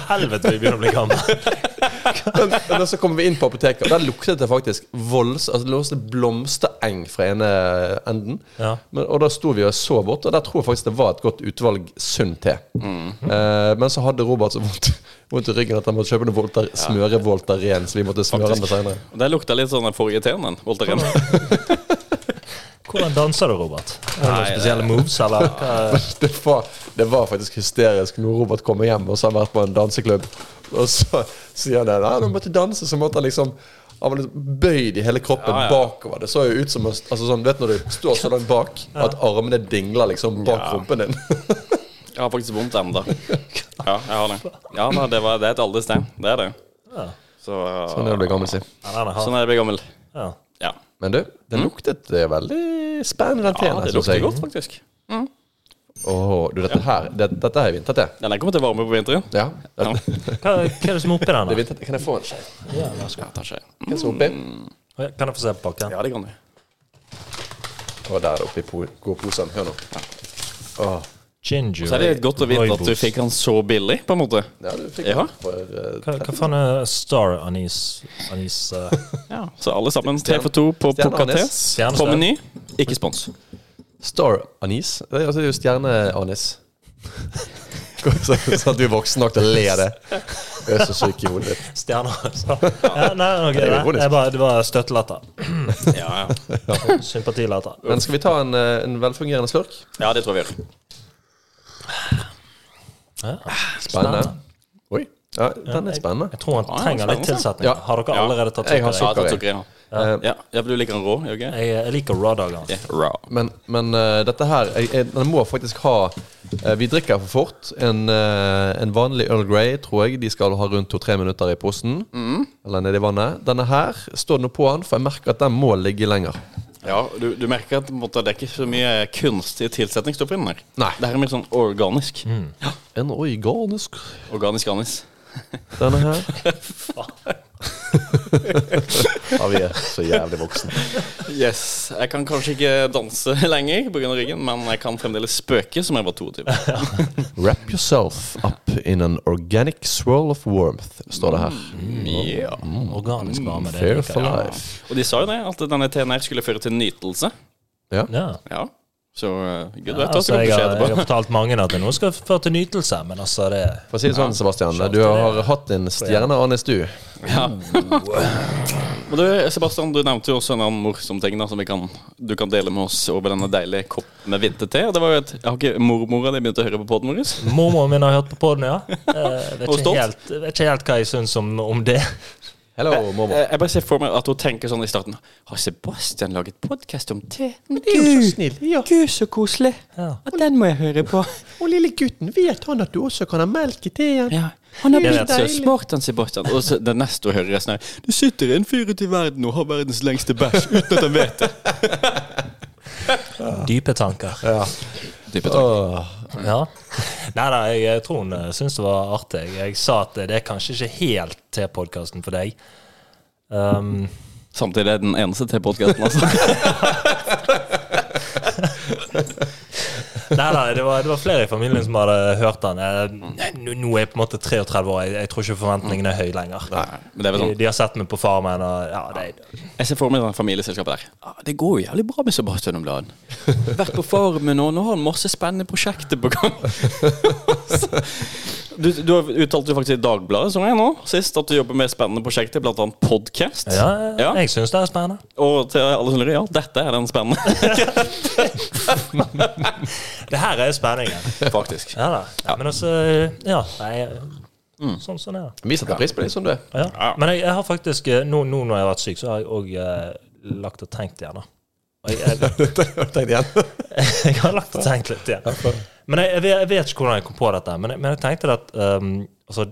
[SPEAKER 2] Helvete, vi begynner å bli gamle.
[SPEAKER 1] Men, men så kommer vi inn på apoteket, og der luktet det faktisk volds, altså det luktet blomstereng fra ene enden.
[SPEAKER 2] Ja.
[SPEAKER 1] Men, og da sto vi og så bort, og der tror jeg faktisk det var et godt utvalg sunn te. Eh, men så hadde Robert så vondt, vondt i ryggen at han måtte kjøpe noe volter, smøre Voltaren, så vi måtte smøre den på senere.
[SPEAKER 3] Og Det lukta litt sånn den forrige teen, den. Voltaren.
[SPEAKER 2] Hvordan danser du, Robert? Er det noen spesielle moves,
[SPEAKER 3] [LAUGHS]
[SPEAKER 2] eller? hva?
[SPEAKER 1] Det var, det var faktisk hysterisk når Robert kommer hjem og så har han vært på en danseklubb. Og så sier han det. Nei, når han måtte danse, så måtte han liksom han var liksom bøyd i hele kroppen
[SPEAKER 3] Ja, ja.
[SPEAKER 1] bakover. Det så jo ut som å- altså sånn, vet du når du står så langt bak at armene dingler liksom bak
[SPEAKER 3] Ja.
[SPEAKER 1] rumpen
[SPEAKER 3] [LAUGHS]
[SPEAKER 1] din.
[SPEAKER 3] Jeg har faktisk vondt enda. Ja, jeg har det. Ja, nei, det, var, det er et alderstein. Det er det.
[SPEAKER 2] Ja.
[SPEAKER 3] Så, eh,
[SPEAKER 1] Sånn er det å bli gammel, si.
[SPEAKER 2] Ja, den er
[SPEAKER 3] sånn
[SPEAKER 2] hard.
[SPEAKER 3] er det å bli gammel.
[SPEAKER 2] Ja.
[SPEAKER 3] Ja.
[SPEAKER 1] Men du, det luktet eh, veldig spennende, den
[SPEAKER 3] Mm. ja,
[SPEAKER 1] teen.
[SPEAKER 3] det
[SPEAKER 1] synes
[SPEAKER 3] lukter
[SPEAKER 1] jeg.
[SPEAKER 3] godt, faktisk.
[SPEAKER 1] Åh, du, dette her det, Dette er vinterte.
[SPEAKER 3] Ja, den kommer til å varme på vinteren.
[SPEAKER 1] Ja.
[SPEAKER 3] Ja.
[SPEAKER 1] dette-
[SPEAKER 2] Hva, hva er det som er oppi den?
[SPEAKER 1] Det er
[SPEAKER 2] da?
[SPEAKER 1] vinterte. Kan jeg få en skje?
[SPEAKER 2] Ja, vær så god.
[SPEAKER 3] Tar seg.
[SPEAKER 1] Kan jeg så oppi?
[SPEAKER 2] Oi, Kan jeg få se på pakken?
[SPEAKER 3] Mm. Ja, det kan du.
[SPEAKER 1] Å, der er det oppi po godposen. Hør nå. Åh.
[SPEAKER 2] Ginger.
[SPEAKER 3] Så er det litt godt å vite at du
[SPEAKER 2] Roybos.
[SPEAKER 3] fikk den så billig, på en måte.
[SPEAKER 1] Ja, du fikk
[SPEAKER 3] Ja.
[SPEAKER 1] den for eh,
[SPEAKER 2] Hva, hva faen er star anis Anis eh, [LAUGHS]
[SPEAKER 3] Ja, Så alle sammen tre for to på
[SPEAKER 1] Stjerne
[SPEAKER 3] Pocca Tes.
[SPEAKER 1] Anis.
[SPEAKER 2] Stjerne
[SPEAKER 3] På
[SPEAKER 2] Stjerne.
[SPEAKER 3] Meny. Ikke spons.
[SPEAKER 1] Star anis? Det er altså det er jo stjerneanis. Sånn at du er voksen nok til å le av [LAUGHS] det. Du er så syk i hodet ditt.
[SPEAKER 2] stjerner? Ja, nei, ok,
[SPEAKER 1] er ironisk.
[SPEAKER 2] nei, jeg bare, det var støttelatter.
[SPEAKER 3] [LAUGHS] Ja, ja.
[SPEAKER 2] Sympatilatter.
[SPEAKER 1] Men skal vi ta en, eh, en velfungerende slurk?
[SPEAKER 3] ja, det tror jeg vi gjør.
[SPEAKER 1] Spennende. Oi. Ja, den er spennende.
[SPEAKER 2] Jeg tror han
[SPEAKER 3] Ja,
[SPEAKER 2] trenger litt
[SPEAKER 3] Ah, spennende.
[SPEAKER 2] tilsetning.
[SPEAKER 1] Ja.
[SPEAKER 2] Har dere
[SPEAKER 3] Ja.
[SPEAKER 2] allerede tatt
[SPEAKER 1] Jeg har
[SPEAKER 2] sukker i?
[SPEAKER 3] Ja, det
[SPEAKER 1] Sukker i.
[SPEAKER 3] tror jeg. Eh, Ja. Ja, ja, for du liker den rå? gjør du ikke?
[SPEAKER 2] Jeg, jeg liker altså. raw dagene.
[SPEAKER 3] Ja, Raw.
[SPEAKER 1] Men, men eh, dette her jeg, jeg, Den må faktisk ha eh, Vi drikker for fort. En, eh, en vanlig Earl Grey tror jeg de skal ha rundt to-tre minutter i posen. Eller nedi vannet. Denne her står det noe på den, for jeg merker at den må ligge lenger.
[SPEAKER 3] Ja, du, du merker at på en måte, det er ikke så mye kunstige tilsetningsstoffer inni der.
[SPEAKER 1] Nei.
[SPEAKER 3] Mm. Det her er mer sånn organisk.
[SPEAKER 1] En organisk
[SPEAKER 3] Organisk anis.
[SPEAKER 1] Denne her. [LAUGHS]
[SPEAKER 4] Ja, vi er så jævlig voksne.
[SPEAKER 3] Yes, Jeg kan kanskje ikke danse [LAUGHS] lenger pga. ryggen, men jeg kan fremdeles spøke som jeg var [LAUGHS] 22.
[SPEAKER 1] Wrap yourself up in an organic swirl of warmth, står det her.
[SPEAKER 3] Mm. Ja.
[SPEAKER 2] Organisk varme. det
[SPEAKER 1] Mm, Fair
[SPEAKER 2] liker jeg.
[SPEAKER 1] for life.
[SPEAKER 3] Og de sa jo det, at denne TNR skulle føre til nytelse.
[SPEAKER 1] Ja.
[SPEAKER 2] Ja.
[SPEAKER 3] Ja. Så eh,
[SPEAKER 2] Ja,
[SPEAKER 3] gud vet hva
[SPEAKER 2] altså,
[SPEAKER 3] som
[SPEAKER 2] jeg,
[SPEAKER 3] kommer til å skje
[SPEAKER 2] har, jeg har
[SPEAKER 3] etterpå.
[SPEAKER 2] fortalt mange at det nå skal føre til nytelse, men altså det
[SPEAKER 1] For å si det sånn, Sebastian, du har hatt en stjerne, Annes, du.
[SPEAKER 3] Ja. [LAUGHS] Men du, Sebastian, du nevnte jo også en annen morsom ting da, som vi kan, du kan dele med oss over denne deilige kopp med vinterte. Og det var jo et, jeg har ikke mormora di begynt å høre på podden vår?
[SPEAKER 2] Mormoren min har hørt på podden, ja. Jeg vet
[SPEAKER 3] Og
[SPEAKER 2] ikke
[SPEAKER 3] stolt.
[SPEAKER 2] helt, jeg vet ikke helt hva jeg syns om, om det.
[SPEAKER 1] Hello, mormor.
[SPEAKER 3] Eh, Jeg bare ser for meg at hun tenker sånn i starten Har Sebastian laget podkast om te?
[SPEAKER 1] snill.
[SPEAKER 3] Gud, så koselig.
[SPEAKER 2] Ja.
[SPEAKER 3] Og den må jeg høre på.
[SPEAKER 1] Og lille gutten, vet han at du også kan ha melk i teen?
[SPEAKER 3] Ja. Han har
[SPEAKER 2] Det er
[SPEAKER 3] blitt så
[SPEAKER 2] deilig.
[SPEAKER 3] smart, han Sebastian. Og så det neste hun hører, er sånn her, Det sitter en fyr ute i verden og har verdens lengste bæsj uten at han vet det.
[SPEAKER 2] Dype tanker.
[SPEAKER 3] Dype takk.
[SPEAKER 2] Ja. Nei da, jeg tror hun eh, syns det var artig. Jeg sa at det er kanskje ikke helt til podkasten for deg. Um,
[SPEAKER 3] Samtidig er det den eneste til podkasten, [LAUGHS] altså.
[SPEAKER 2] Nei, nei, det var, det var flere i familien som hadde hørt den. Eh, Nå nå er jeg på en måte 33 år, jeg, jeg tror ikke forventningene er høy lenger.
[SPEAKER 3] Men det er vel
[SPEAKER 2] De,
[SPEAKER 3] sånn
[SPEAKER 2] de har sett meg på Farmen, og ja, det,
[SPEAKER 3] Jeg ser for meg det familieselskapet der. Ah, det går jo jævlig bra med Sebastian om [LAUGHS] dagen. Vært på Farmen, og nå har han masse spennende prosjekter på gang. [LAUGHS] Du, du har uttalt jo faktisk i Dagbladet som jeg nå, sist, at du jobber med spennende prosjekter, blant annet podcast.
[SPEAKER 2] ja,
[SPEAKER 3] Ja.
[SPEAKER 2] jeg syns det er spennende.
[SPEAKER 3] Og til alle som lurer, ja, dette er den spennende.
[SPEAKER 2] Det her er spenningen.
[SPEAKER 3] [LAUGHS] Faktisk.
[SPEAKER 2] Ja da. Men altså Ja. Nei, sånn, sånn er det.
[SPEAKER 1] Vi setter pris på deg [LAUGHS] som du er.
[SPEAKER 2] Ja. Men jeg, jeg har faktisk eh, nå, nå når jeg har vært syk, så har jeg òg eh, lagt og tenkt igjen. da. Og [LAUGHS] jeg, jeg,
[SPEAKER 1] Tenk igjen.
[SPEAKER 2] jeg har lagt og tenkt litt igjen. Men jeg, jeg, vet- jeg vet ikke hvordan jeg kom på dette. Men jeg, men jeg tenkte at ehm, altså,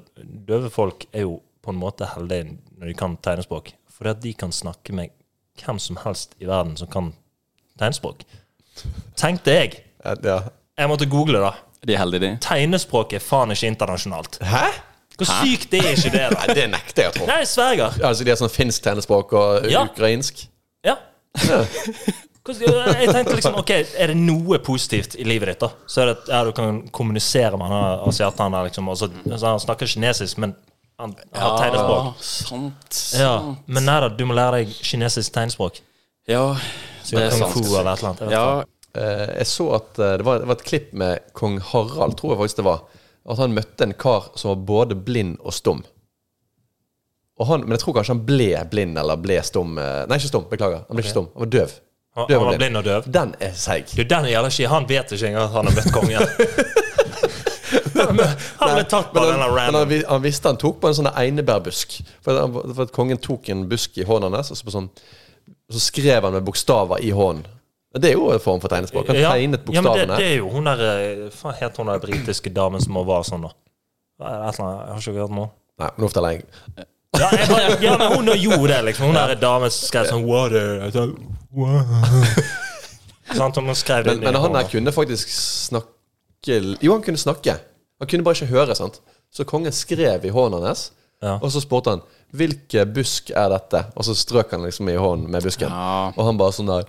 [SPEAKER 2] døve folk er jo på en måte heldige når de kan tegnespråk. Fordi at de kan snakke med hvem som helst i verden som kan tegnspråk. Tenkte jeg.
[SPEAKER 1] Ja.
[SPEAKER 2] Jeg måtte google, da.
[SPEAKER 3] De er heldige, de.
[SPEAKER 2] Tegnespråk er faen ikke internasjonalt.
[SPEAKER 1] Hæ?
[SPEAKER 2] Hvor sykt er ikke det, da?
[SPEAKER 1] Nei, det nekter jeg å tro.
[SPEAKER 2] Nei, jeg sverger.
[SPEAKER 1] Altså, de har sånn finsk tegnespråk og
[SPEAKER 2] Ja.
[SPEAKER 1] ukrainsk.
[SPEAKER 2] Ja. Hvordan- Jeg tenkte liksom, ok, Er det noe positivt i livet ditt, da? Så er det at ja, du kan kommunisere med han asiaten der, liksom. og så- altså, han snakker kinesisk, men han han har tegnespråk.
[SPEAKER 3] Ah, sant.
[SPEAKER 2] Ja, Men nei da, du må lære deg kinesisk tegnspråk.
[SPEAKER 3] Ja, det er
[SPEAKER 2] Kung
[SPEAKER 3] sant.
[SPEAKER 2] fu eller et eller annet. jeg vet
[SPEAKER 3] Ja,
[SPEAKER 2] ikke.
[SPEAKER 1] Eh, jeg så at eh, det var, det var et klipp med kong Harald, tror jeg faktisk det var. At han møtte en kar som var både blind og stum. Og han, men jeg tror kanskje han ble blind eller ble stum. eh, Nei, ikke stum, beklager. Han ble ikke stum, han var døv.
[SPEAKER 2] Han,
[SPEAKER 1] Døv
[SPEAKER 2] han var
[SPEAKER 1] og blind.
[SPEAKER 2] blind og døv.
[SPEAKER 1] Den er seig.
[SPEAKER 2] Jo, den gjelder ikke. Han vet ikke engang at han har møtt
[SPEAKER 1] [LAUGHS]
[SPEAKER 2] kongen. Han ble tatt på
[SPEAKER 1] Men,
[SPEAKER 2] den
[SPEAKER 1] han, men han,
[SPEAKER 2] random.
[SPEAKER 1] vi- han visste han tok på en sånn einebærbusk. For, at han- for at kongen tok en busk i hånden hans, og så, på sånn, og så skrev han med bokstaver i hånden. Det er jo en form for tegnespråk. Han
[SPEAKER 2] Ja,
[SPEAKER 1] tegnet
[SPEAKER 2] ja, men det,
[SPEAKER 1] bokstavene.
[SPEAKER 2] det er jo hun der eh, Faen, het hun der britiske damen som også var sånn, da? Hva er det, Et eller annet, jeg har ikke hørt noe.
[SPEAKER 1] Nei, nå forteller jeg.
[SPEAKER 2] Ja, jeg bare, ja, men hun gjorde det, liksom. Hun der dame som skrev sånn Water. Jeg sa, wow. [LAUGHS] Sant, hun skrev det
[SPEAKER 1] Men, men
[SPEAKER 2] ned.
[SPEAKER 1] han her kunne faktisk snakke Jo, han kunne snakke. Han kunne bare ikke høre. sant? Så kongen skrev i hånden hans,
[SPEAKER 2] Ja.
[SPEAKER 1] og så spurte han 'Hvilke busk er dette?' Og så strøk han liksom i hånden med busken.
[SPEAKER 3] Ja.
[SPEAKER 1] Og han bare sånn der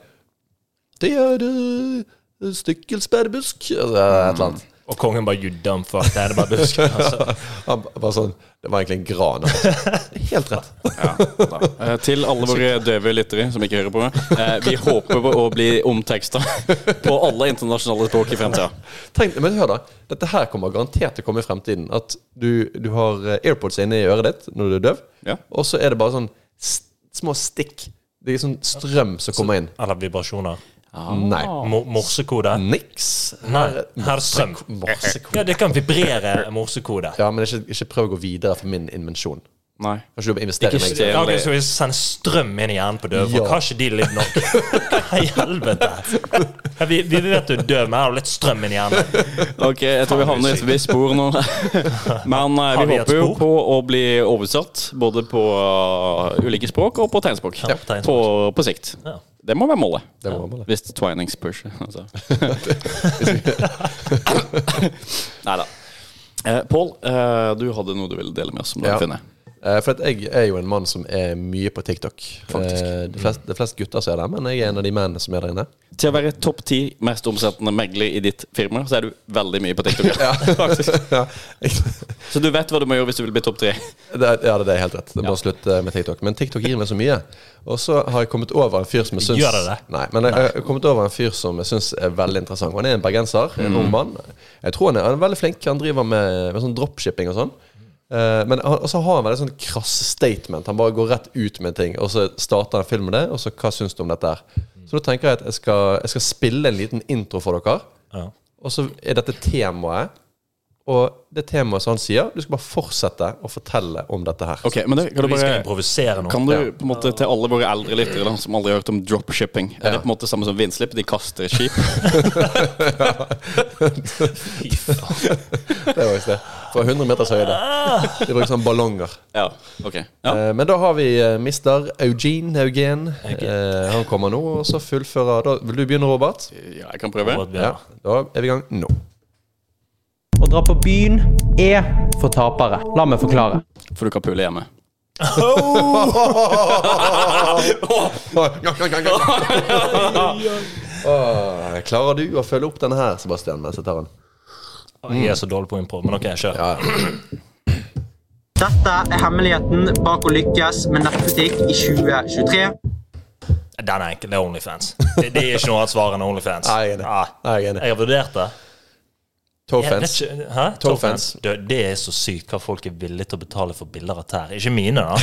[SPEAKER 1] 'Det er uh, stykkelsbærbusk' Altså, eller et eller annet.
[SPEAKER 2] Og kongen bare You dumb fuck. Det er det bare busker.
[SPEAKER 1] [LAUGHS]
[SPEAKER 2] Altså.
[SPEAKER 1] Han ba- bare sånn Det var egentlig en gran. altså. Helt rett.
[SPEAKER 3] Eh, Til alle våre døve lyttere som ikke hører på. eh, Vi håper på å bli omteksta [LAUGHS] på alle internasjonale språk i fremtida.
[SPEAKER 1] Tenk, men hør da, Dette her kommer garantert til å komme i fremtiden. At du, du har eh, AirPods inne i øret ditt når du er døv,
[SPEAKER 3] Ja.
[SPEAKER 1] og så er det bare sånn st små stikk. Det er sånn strøm som kommer inn.
[SPEAKER 2] Eller vibrasjoner.
[SPEAKER 3] Ah.
[SPEAKER 1] Nei.
[SPEAKER 2] Mo- Morsekode.
[SPEAKER 1] Niks.
[SPEAKER 2] Nei, her er strøm.
[SPEAKER 1] Morsekode.
[SPEAKER 2] Ja, det kan vibrere morsekode.
[SPEAKER 1] Ja, men ikke, ikke prøv å gå videre for min invensjon.
[SPEAKER 3] Nei.
[SPEAKER 1] Kanskje du må investere i
[SPEAKER 3] Ikke
[SPEAKER 1] meg?
[SPEAKER 3] stjel.
[SPEAKER 2] Ja, ok, så vi sender strøm inn i hjernen på døve
[SPEAKER 1] Ja.
[SPEAKER 2] folk? Har ikke de litt nok? Hva i helvete? Ja, vi, vi vet du er døv, men har du litt strøm inn i hjernen?
[SPEAKER 3] Ok, jeg tror vi havner i et visst spor nå. Men eh,
[SPEAKER 2] Har vi
[SPEAKER 3] vi
[SPEAKER 2] et
[SPEAKER 3] håper jo
[SPEAKER 2] spor?
[SPEAKER 3] på å bli oversatt både på eh, ulike språk og på tegnspråk.
[SPEAKER 2] Ja, på tegnspråk.
[SPEAKER 3] På, på sikt.
[SPEAKER 2] Ja.
[SPEAKER 3] Det må være målet.
[SPEAKER 1] Det må være målet.
[SPEAKER 3] Hvis
[SPEAKER 2] [LAUGHS]
[SPEAKER 3] twining spørs. Altså. Nei da. Eh, Pål, eh, du hadde noe du ville dele med oss om
[SPEAKER 1] Ja.
[SPEAKER 3] lagfinne.
[SPEAKER 1] Eh, For at jeg er jo en mann som er mye på TikTok.
[SPEAKER 3] Faktisk.
[SPEAKER 1] Eh, De fleste, de fleste gutter ser det, men jeg er en av de mennene som er der inne.
[SPEAKER 3] Til å være topp ti mest omsettende megler i ditt firma, så er du veldig mye på [LAUGHS] TikTok. Faktisk.
[SPEAKER 1] [LAUGHS] Ja,
[SPEAKER 3] Så du vet hva du må gjøre hvis du vil bli topp tre.
[SPEAKER 1] det, er- ja, det er helt rett. Det er bare å slutte med TikTok. Men TikTok gir meg så mye. Og så har jeg kommet over en fyr som jeg syns
[SPEAKER 2] Gjør det det?
[SPEAKER 1] Nei, men jeg, jeg har kommet over en fyr som jeg syns er veldig interessant. Han er en bergenser,
[SPEAKER 2] Mm.
[SPEAKER 1] en ung mann. Jeg tror han er, han er veldig flink. Han driver med, med sånn dropshipping og sånn. Eh, Men han, og så har han veldig sånn krass statement. Han bare går rett ut med ting, og så starter han film med det. Og så hva syns du om dette her? Så da tenker jeg at jeg skal, jeg skal spille en liten intro for dere.
[SPEAKER 2] Ja.
[SPEAKER 1] Og så er dette temaet. Og det temaet som han sier, du skal bare fortsette å fortelle om dette her.
[SPEAKER 3] Ok, men det, kan du
[SPEAKER 2] Vi skal
[SPEAKER 3] bare
[SPEAKER 2] improvisere nå.
[SPEAKER 3] Kan du på en måte til alle våre eldre lyttere da, som aldri har hørt om dropshipping Er det på en måte samme som vindslipp? De kaster et [LAUGHS] skip.
[SPEAKER 2] Fy faen.
[SPEAKER 1] Det var visst det. Fra 100 meters høyde. De bruker sånne ballonger.
[SPEAKER 3] Ja, ok ja.
[SPEAKER 1] Eh, Men da har vi eh, mister Eugene Haugen. Eh, han kommer nå, og så fullfører da, Vil du begynne, Robert?
[SPEAKER 3] ja, jeg kan prøve.
[SPEAKER 2] Robert
[SPEAKER 1] Ja.
[SPEAKER 2] Bjørn.
[SPEAKER 1] Da er vi i gang nå.
[SPEAKER 5] Å dra på byen er for tapere. La meg forklare.
[SPEAKER 3] For du kan pule hjemme.
[SPEAKER 1] Åh, klarer du å følge opp denne her, Sebastian? Mens jeg tar den.
[SPEAKER 2] Jeg er så dårlig på improv, men OK, kjør.
[SPEAKER 6] Dette er hemmeligheten bak å lykkes med nettbutikk i 2023.
[SPEAKER 2] Den er enkel. Det er Onlyfans. Det, det er ikke noe annet svar enn Onlyfans.
[SPEAKER 1] Nei, jeg er enig.
[SPEAKER 2] Ja.
[SPEAKER 1] Nei, jeg er enig.
[SPEAKER 2] Jeg har vurdert det. Ja, det er
[SPEAKER 1] Tofence.
[SPEAKER 2] ikke- Hæ?
[SPEAKER 1] Toe
[SPEAKER 2] Toe-fans. Du, det er så sykt hva folk er villige til å betale for bilder av tær. Ikke mine, da.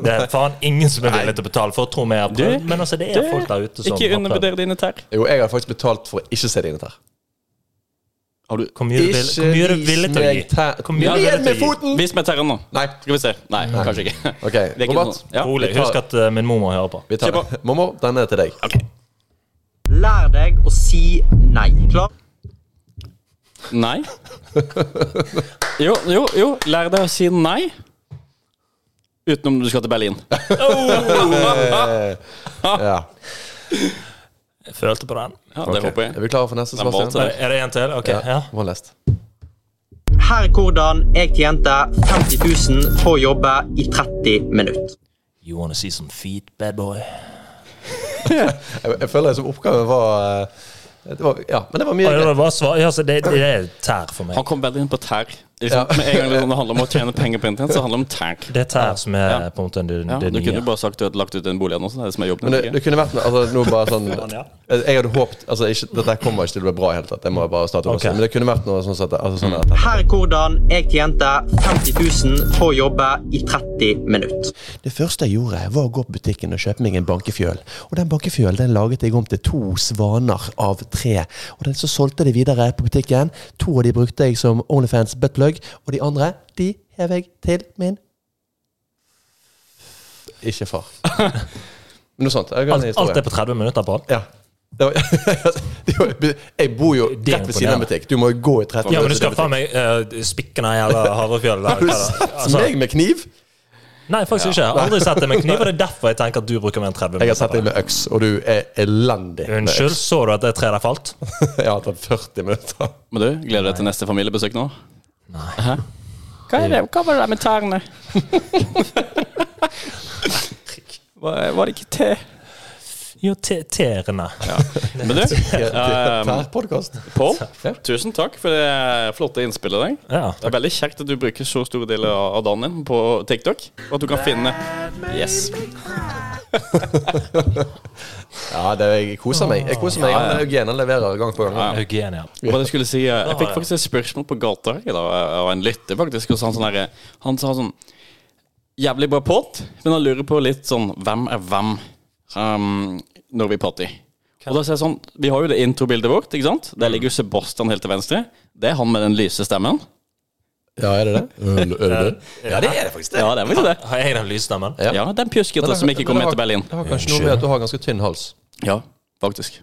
[SPEAKER 2] Det er faen ingen som er villig til å betale for, tror jeg. har prøvd. Men altså, det er folk der ute som
[SPEAKER 3] Ikke
[SPEAKER 2] har prøvd.
[SPEAKER 3] undervurder dine tær.
[SPEAKER 1] Jo, jeg har faktisk betalt for å ikke se dine tær.
[SPEAKER 3] Har du
[SPEAKER 2] Hvor mye du vil- hvor mye du er villig til å gi. Hvor mye du er villig
[SPEAKER 1] Ned
[SPEAKER 2] til
[SPEAKER 1] med
[SPEAKER 2] å gi.
[SPEAKER 1] foten!
[SPEAKER 3] Vis meg tærne nå.
[SPEAKER 1] Nei.
[SPEAKER 3] Skal vi se. Nei, kanskje ikke.
[SPEAKER 1] Ok,
[SPEAKER 3] [LAUGHS] Det er ikke
[SPEAKER 1] Robert.
[SPEAKER 3] sånn. Ja.
[SPEAKER 2] Rolig. Husk at eh, min mormor hører på.
[SPEAKER 1] Vi tar
[SPEAKER 3] Kjør
[SPEAKER 1] den. Mommo, denne er til deg.
[SPEAKER 3] Ok.
[SPEAKER 6] Lær deg å si nei. Klar?
[SPEAKER 3] [LAUGHS] Nei. Jo, jo, jo. Lær deg å si nei. Utenom du skal til [LAUGHS] Berlin.
[SPEAKER 1] Ja.
[SPEAKER 2] Jeg følte på den.
[SPEAKER 3] Ja, Det håper jeg.
[SPEAKER 1] Er vi klare for neste,
[SPEAKER 3] Den valgte
[SPEAKER 1] Sebastian?
[SPEAKER 3] deg.
[SPEAKER 2] Er det en til? OK. Ja.
[SPEAKER 1] Må ha lest.
[SPEAKER 6] Her er hvordan jeg tjente 50 000 på å jobbe i 30 minutter.
[SPEAKER 2] You wanna see some feet, bad boy?
[SPEAKER 1] Jeg, jeg føler som oppgaven var eh, det var, Ja, men det var mye.
[SPEAKER 2] Oi,
[SPEAKER 1] greier.
[SPEAKER 2] det, var svar. Ja, altså, det, det er tær for meg.
[SPEAKER 3] Han kom veldig inn på tær. Liksom, Med en gang
[SPEAKER 2] [LAUGHS]
[SPEAKER 3] det handler om å tjene penger på internett, så handler det om tær.
[SPEAKER 2] Det er tær som er på en måte det,
[SPEAKER 3] Ja,
[SPEAKER 2] det
[SPEAKER 3] du kunne
[SPEAKER 2] nye.
[SPEAKER 3] jo bare sagt du hadde lagt ut en bolig eller noe sånt. Det er det som er jobben.
[SPEAKER 1] Men det,
[SPEAKER 3] ikke?
[SPEAKER 1] det kunne vært noe, altså, noe bare sånn
[SPEAKER 2] [LAUGHS] ja.
[SPEAKER 1] Jeg jeg hadde håpet altså, ikke, Dette her kommer ikke til å bli bra i hele tatt. Det må jeg bare starte med å si.
[SPEAKER 2] Ok.
[SPEAKER 1] Men det kunne vært noe sånn at altså, sånn at
[SPEAKER 6] Her er hvordan jeg tjente 50 000 på å jobbe i 30 minutter.
[SPEAKER 1] Det første jeg gjorde, var å gå på butikken og kjøpe meg en bankefjøl. Og den bankefjølen den laget jeg om til to svaner av tre. Og den så solgte de videre på butikken. To av de brukte jeg som Onlyfans buttplug, og de andre, de hev jeg til min Ikke
[SPEAKER 2] [LAUGHS]
[SPEAKER 1] far. Men noe sånt. Jeg kan en
[SPEAKER 2] Alt,
[SPEAKER 1] historie.
[SPEAKER 2] alt er på 30 minutter, Pål.
[SPEAKER 1] Ja. Det var, [LAUGHS] det var, jeg bor jo
[SPEAKER 2] Det er
[SPEAKER 1] rett ved siden av en
[SPEAKER 2] imponerende.
[SPEAKER 1] butikk. Du må jo gå i 30
[SPEAKER 2] Ja, men du
[SPEAKER 1] til
[SPEAKER 2] skal faen meg uh, spikke den [LAUGHS] jævla Havrefjell der.
[SPEAKER 1] Har du sett
[SPEAKER 2] altså-
[SPEAKER 1] meg med kniv?
[SPEAKER 2] Nei, faktisk ikke. Jeg har aldri sett det med kniv, og det er derfor jeg tenker at du bruker mer enn 30
[SPEAKER 1] Jeg har sett
[SPEAKER 2] minutter.
[SPEAKER 1] deg med øks, og du er elendig. med
[SPEAKER 2] Unnskyld,
[SPEAKER 1] øks.
[SPEAKER 2] så du at det treet der falt?
[SPEAKER 1] [LAUGHS] Jeg har tatt 40 minutter.
[SPEAKER 3] Men du, gleder du deg til neste familiebesøk nå? Hæ? Hva, er det? Hva var det der med [LAUGHS] tærne? var, var det ikke te?
[SPEAKER 2] Jo, te- tærne.
[SPEAKER 3] Men du, um,
[SPEAKER 1] Tærpodkast.
[SPEAKER 2] [LAUGHS]
[SPEAKER 3] Pål,
[SPEAKER 1] Ja.
[SPEAKER 3] tusen takk for det flotte innspillet i dag.
[SPEAKER 2] Ja.
[SPEAKER 3] Det er veldig kjekt at du bruker så store deler av dagen din på TikTok, og at du kan finne Yes.
[SPEAKER 1] Ja, det, jeg koser meg. Jeg koser meg. Han Eugene leverer gang på gang.
[SPEAKER 2] Eugenia.
[SPEAKER 3] Hva jeg skulle si eh, Jeg fikk faktisk et spørsmål på gata i dag eh, av en lytter, faktisk. Og så han, sånn her, eh, han sa sånn Jævlig bra pott, men han lurer på litt sånn Hvem er hvem um, når vi party? Og da ser jeg sånn Vi har jo det introbildet vårt, ikke sant? Der ligger jo Sebastian helt til venstre. Det er han med den lyse stemmen.
[SPEAKER 1] Ja, er det det? Mm, Er det det? Ja, det er det faktisk.
[SPEAKER 3] Ja, det er faktisk det.
[SPEAKER 2] Har jeg den lysstemmen?
[SPEAKER 1] Ja.
[SPEAKER 3] Ja, den pjuskete som ikke kom med til Berlin.
[SPEAKER 1] Det har kanskje noe med at du har ganske tynn hals.
[SPEAKER 3] Ja, faktisk.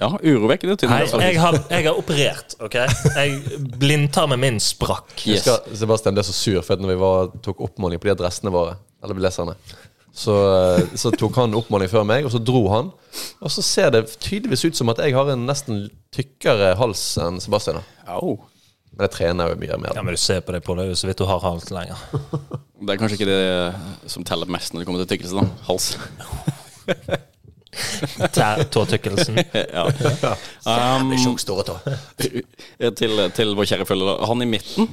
[SPEAKER 3] Ja, urovekkende tynn.
[SPEAKER 2] Nei,
[SPEAKER 3] hals,
[SPEAKER 2] jeg
[SPEAKER 3] faktisk.
[SPEAKER 2] har, jeg har operert, OK? Jeg Blindtarmen min sprakk.
[SPEAKER 3] Yes.
[SPEAKER 1] Skal, Sebastian ble så sur for at når vi var, tok oppmåling på de adressene våre, eller leserne, så, eh, så tok han oppmåling før meg, og så dro han. Og så ser det tydeligvis ut som at jeg har en nesten tykkere hals enn Sebastian. har.
[SPEAKER 3] Au.
[SPEAKER 1] Men jeg trener jo mye mer.
[SPEAKER 2] Ja, men du ser på det på deg, så vidt du har halvt lenger.
[SPEAKER 3] Det er kanskje ikke det som teller mest når det kommer til tykkelse, da. Hals.
[SPEAKER 2] [LAUGHS] Tær- Tåtykkelsen.
[SPEAKER 1] [LAUGHS]
[SPEAKER 3] ja. um,
[SPEAKER 4] Tjukk, store tå.
[SPEAKER 3] til, eh, til vår kjære følger. da. Han i midten,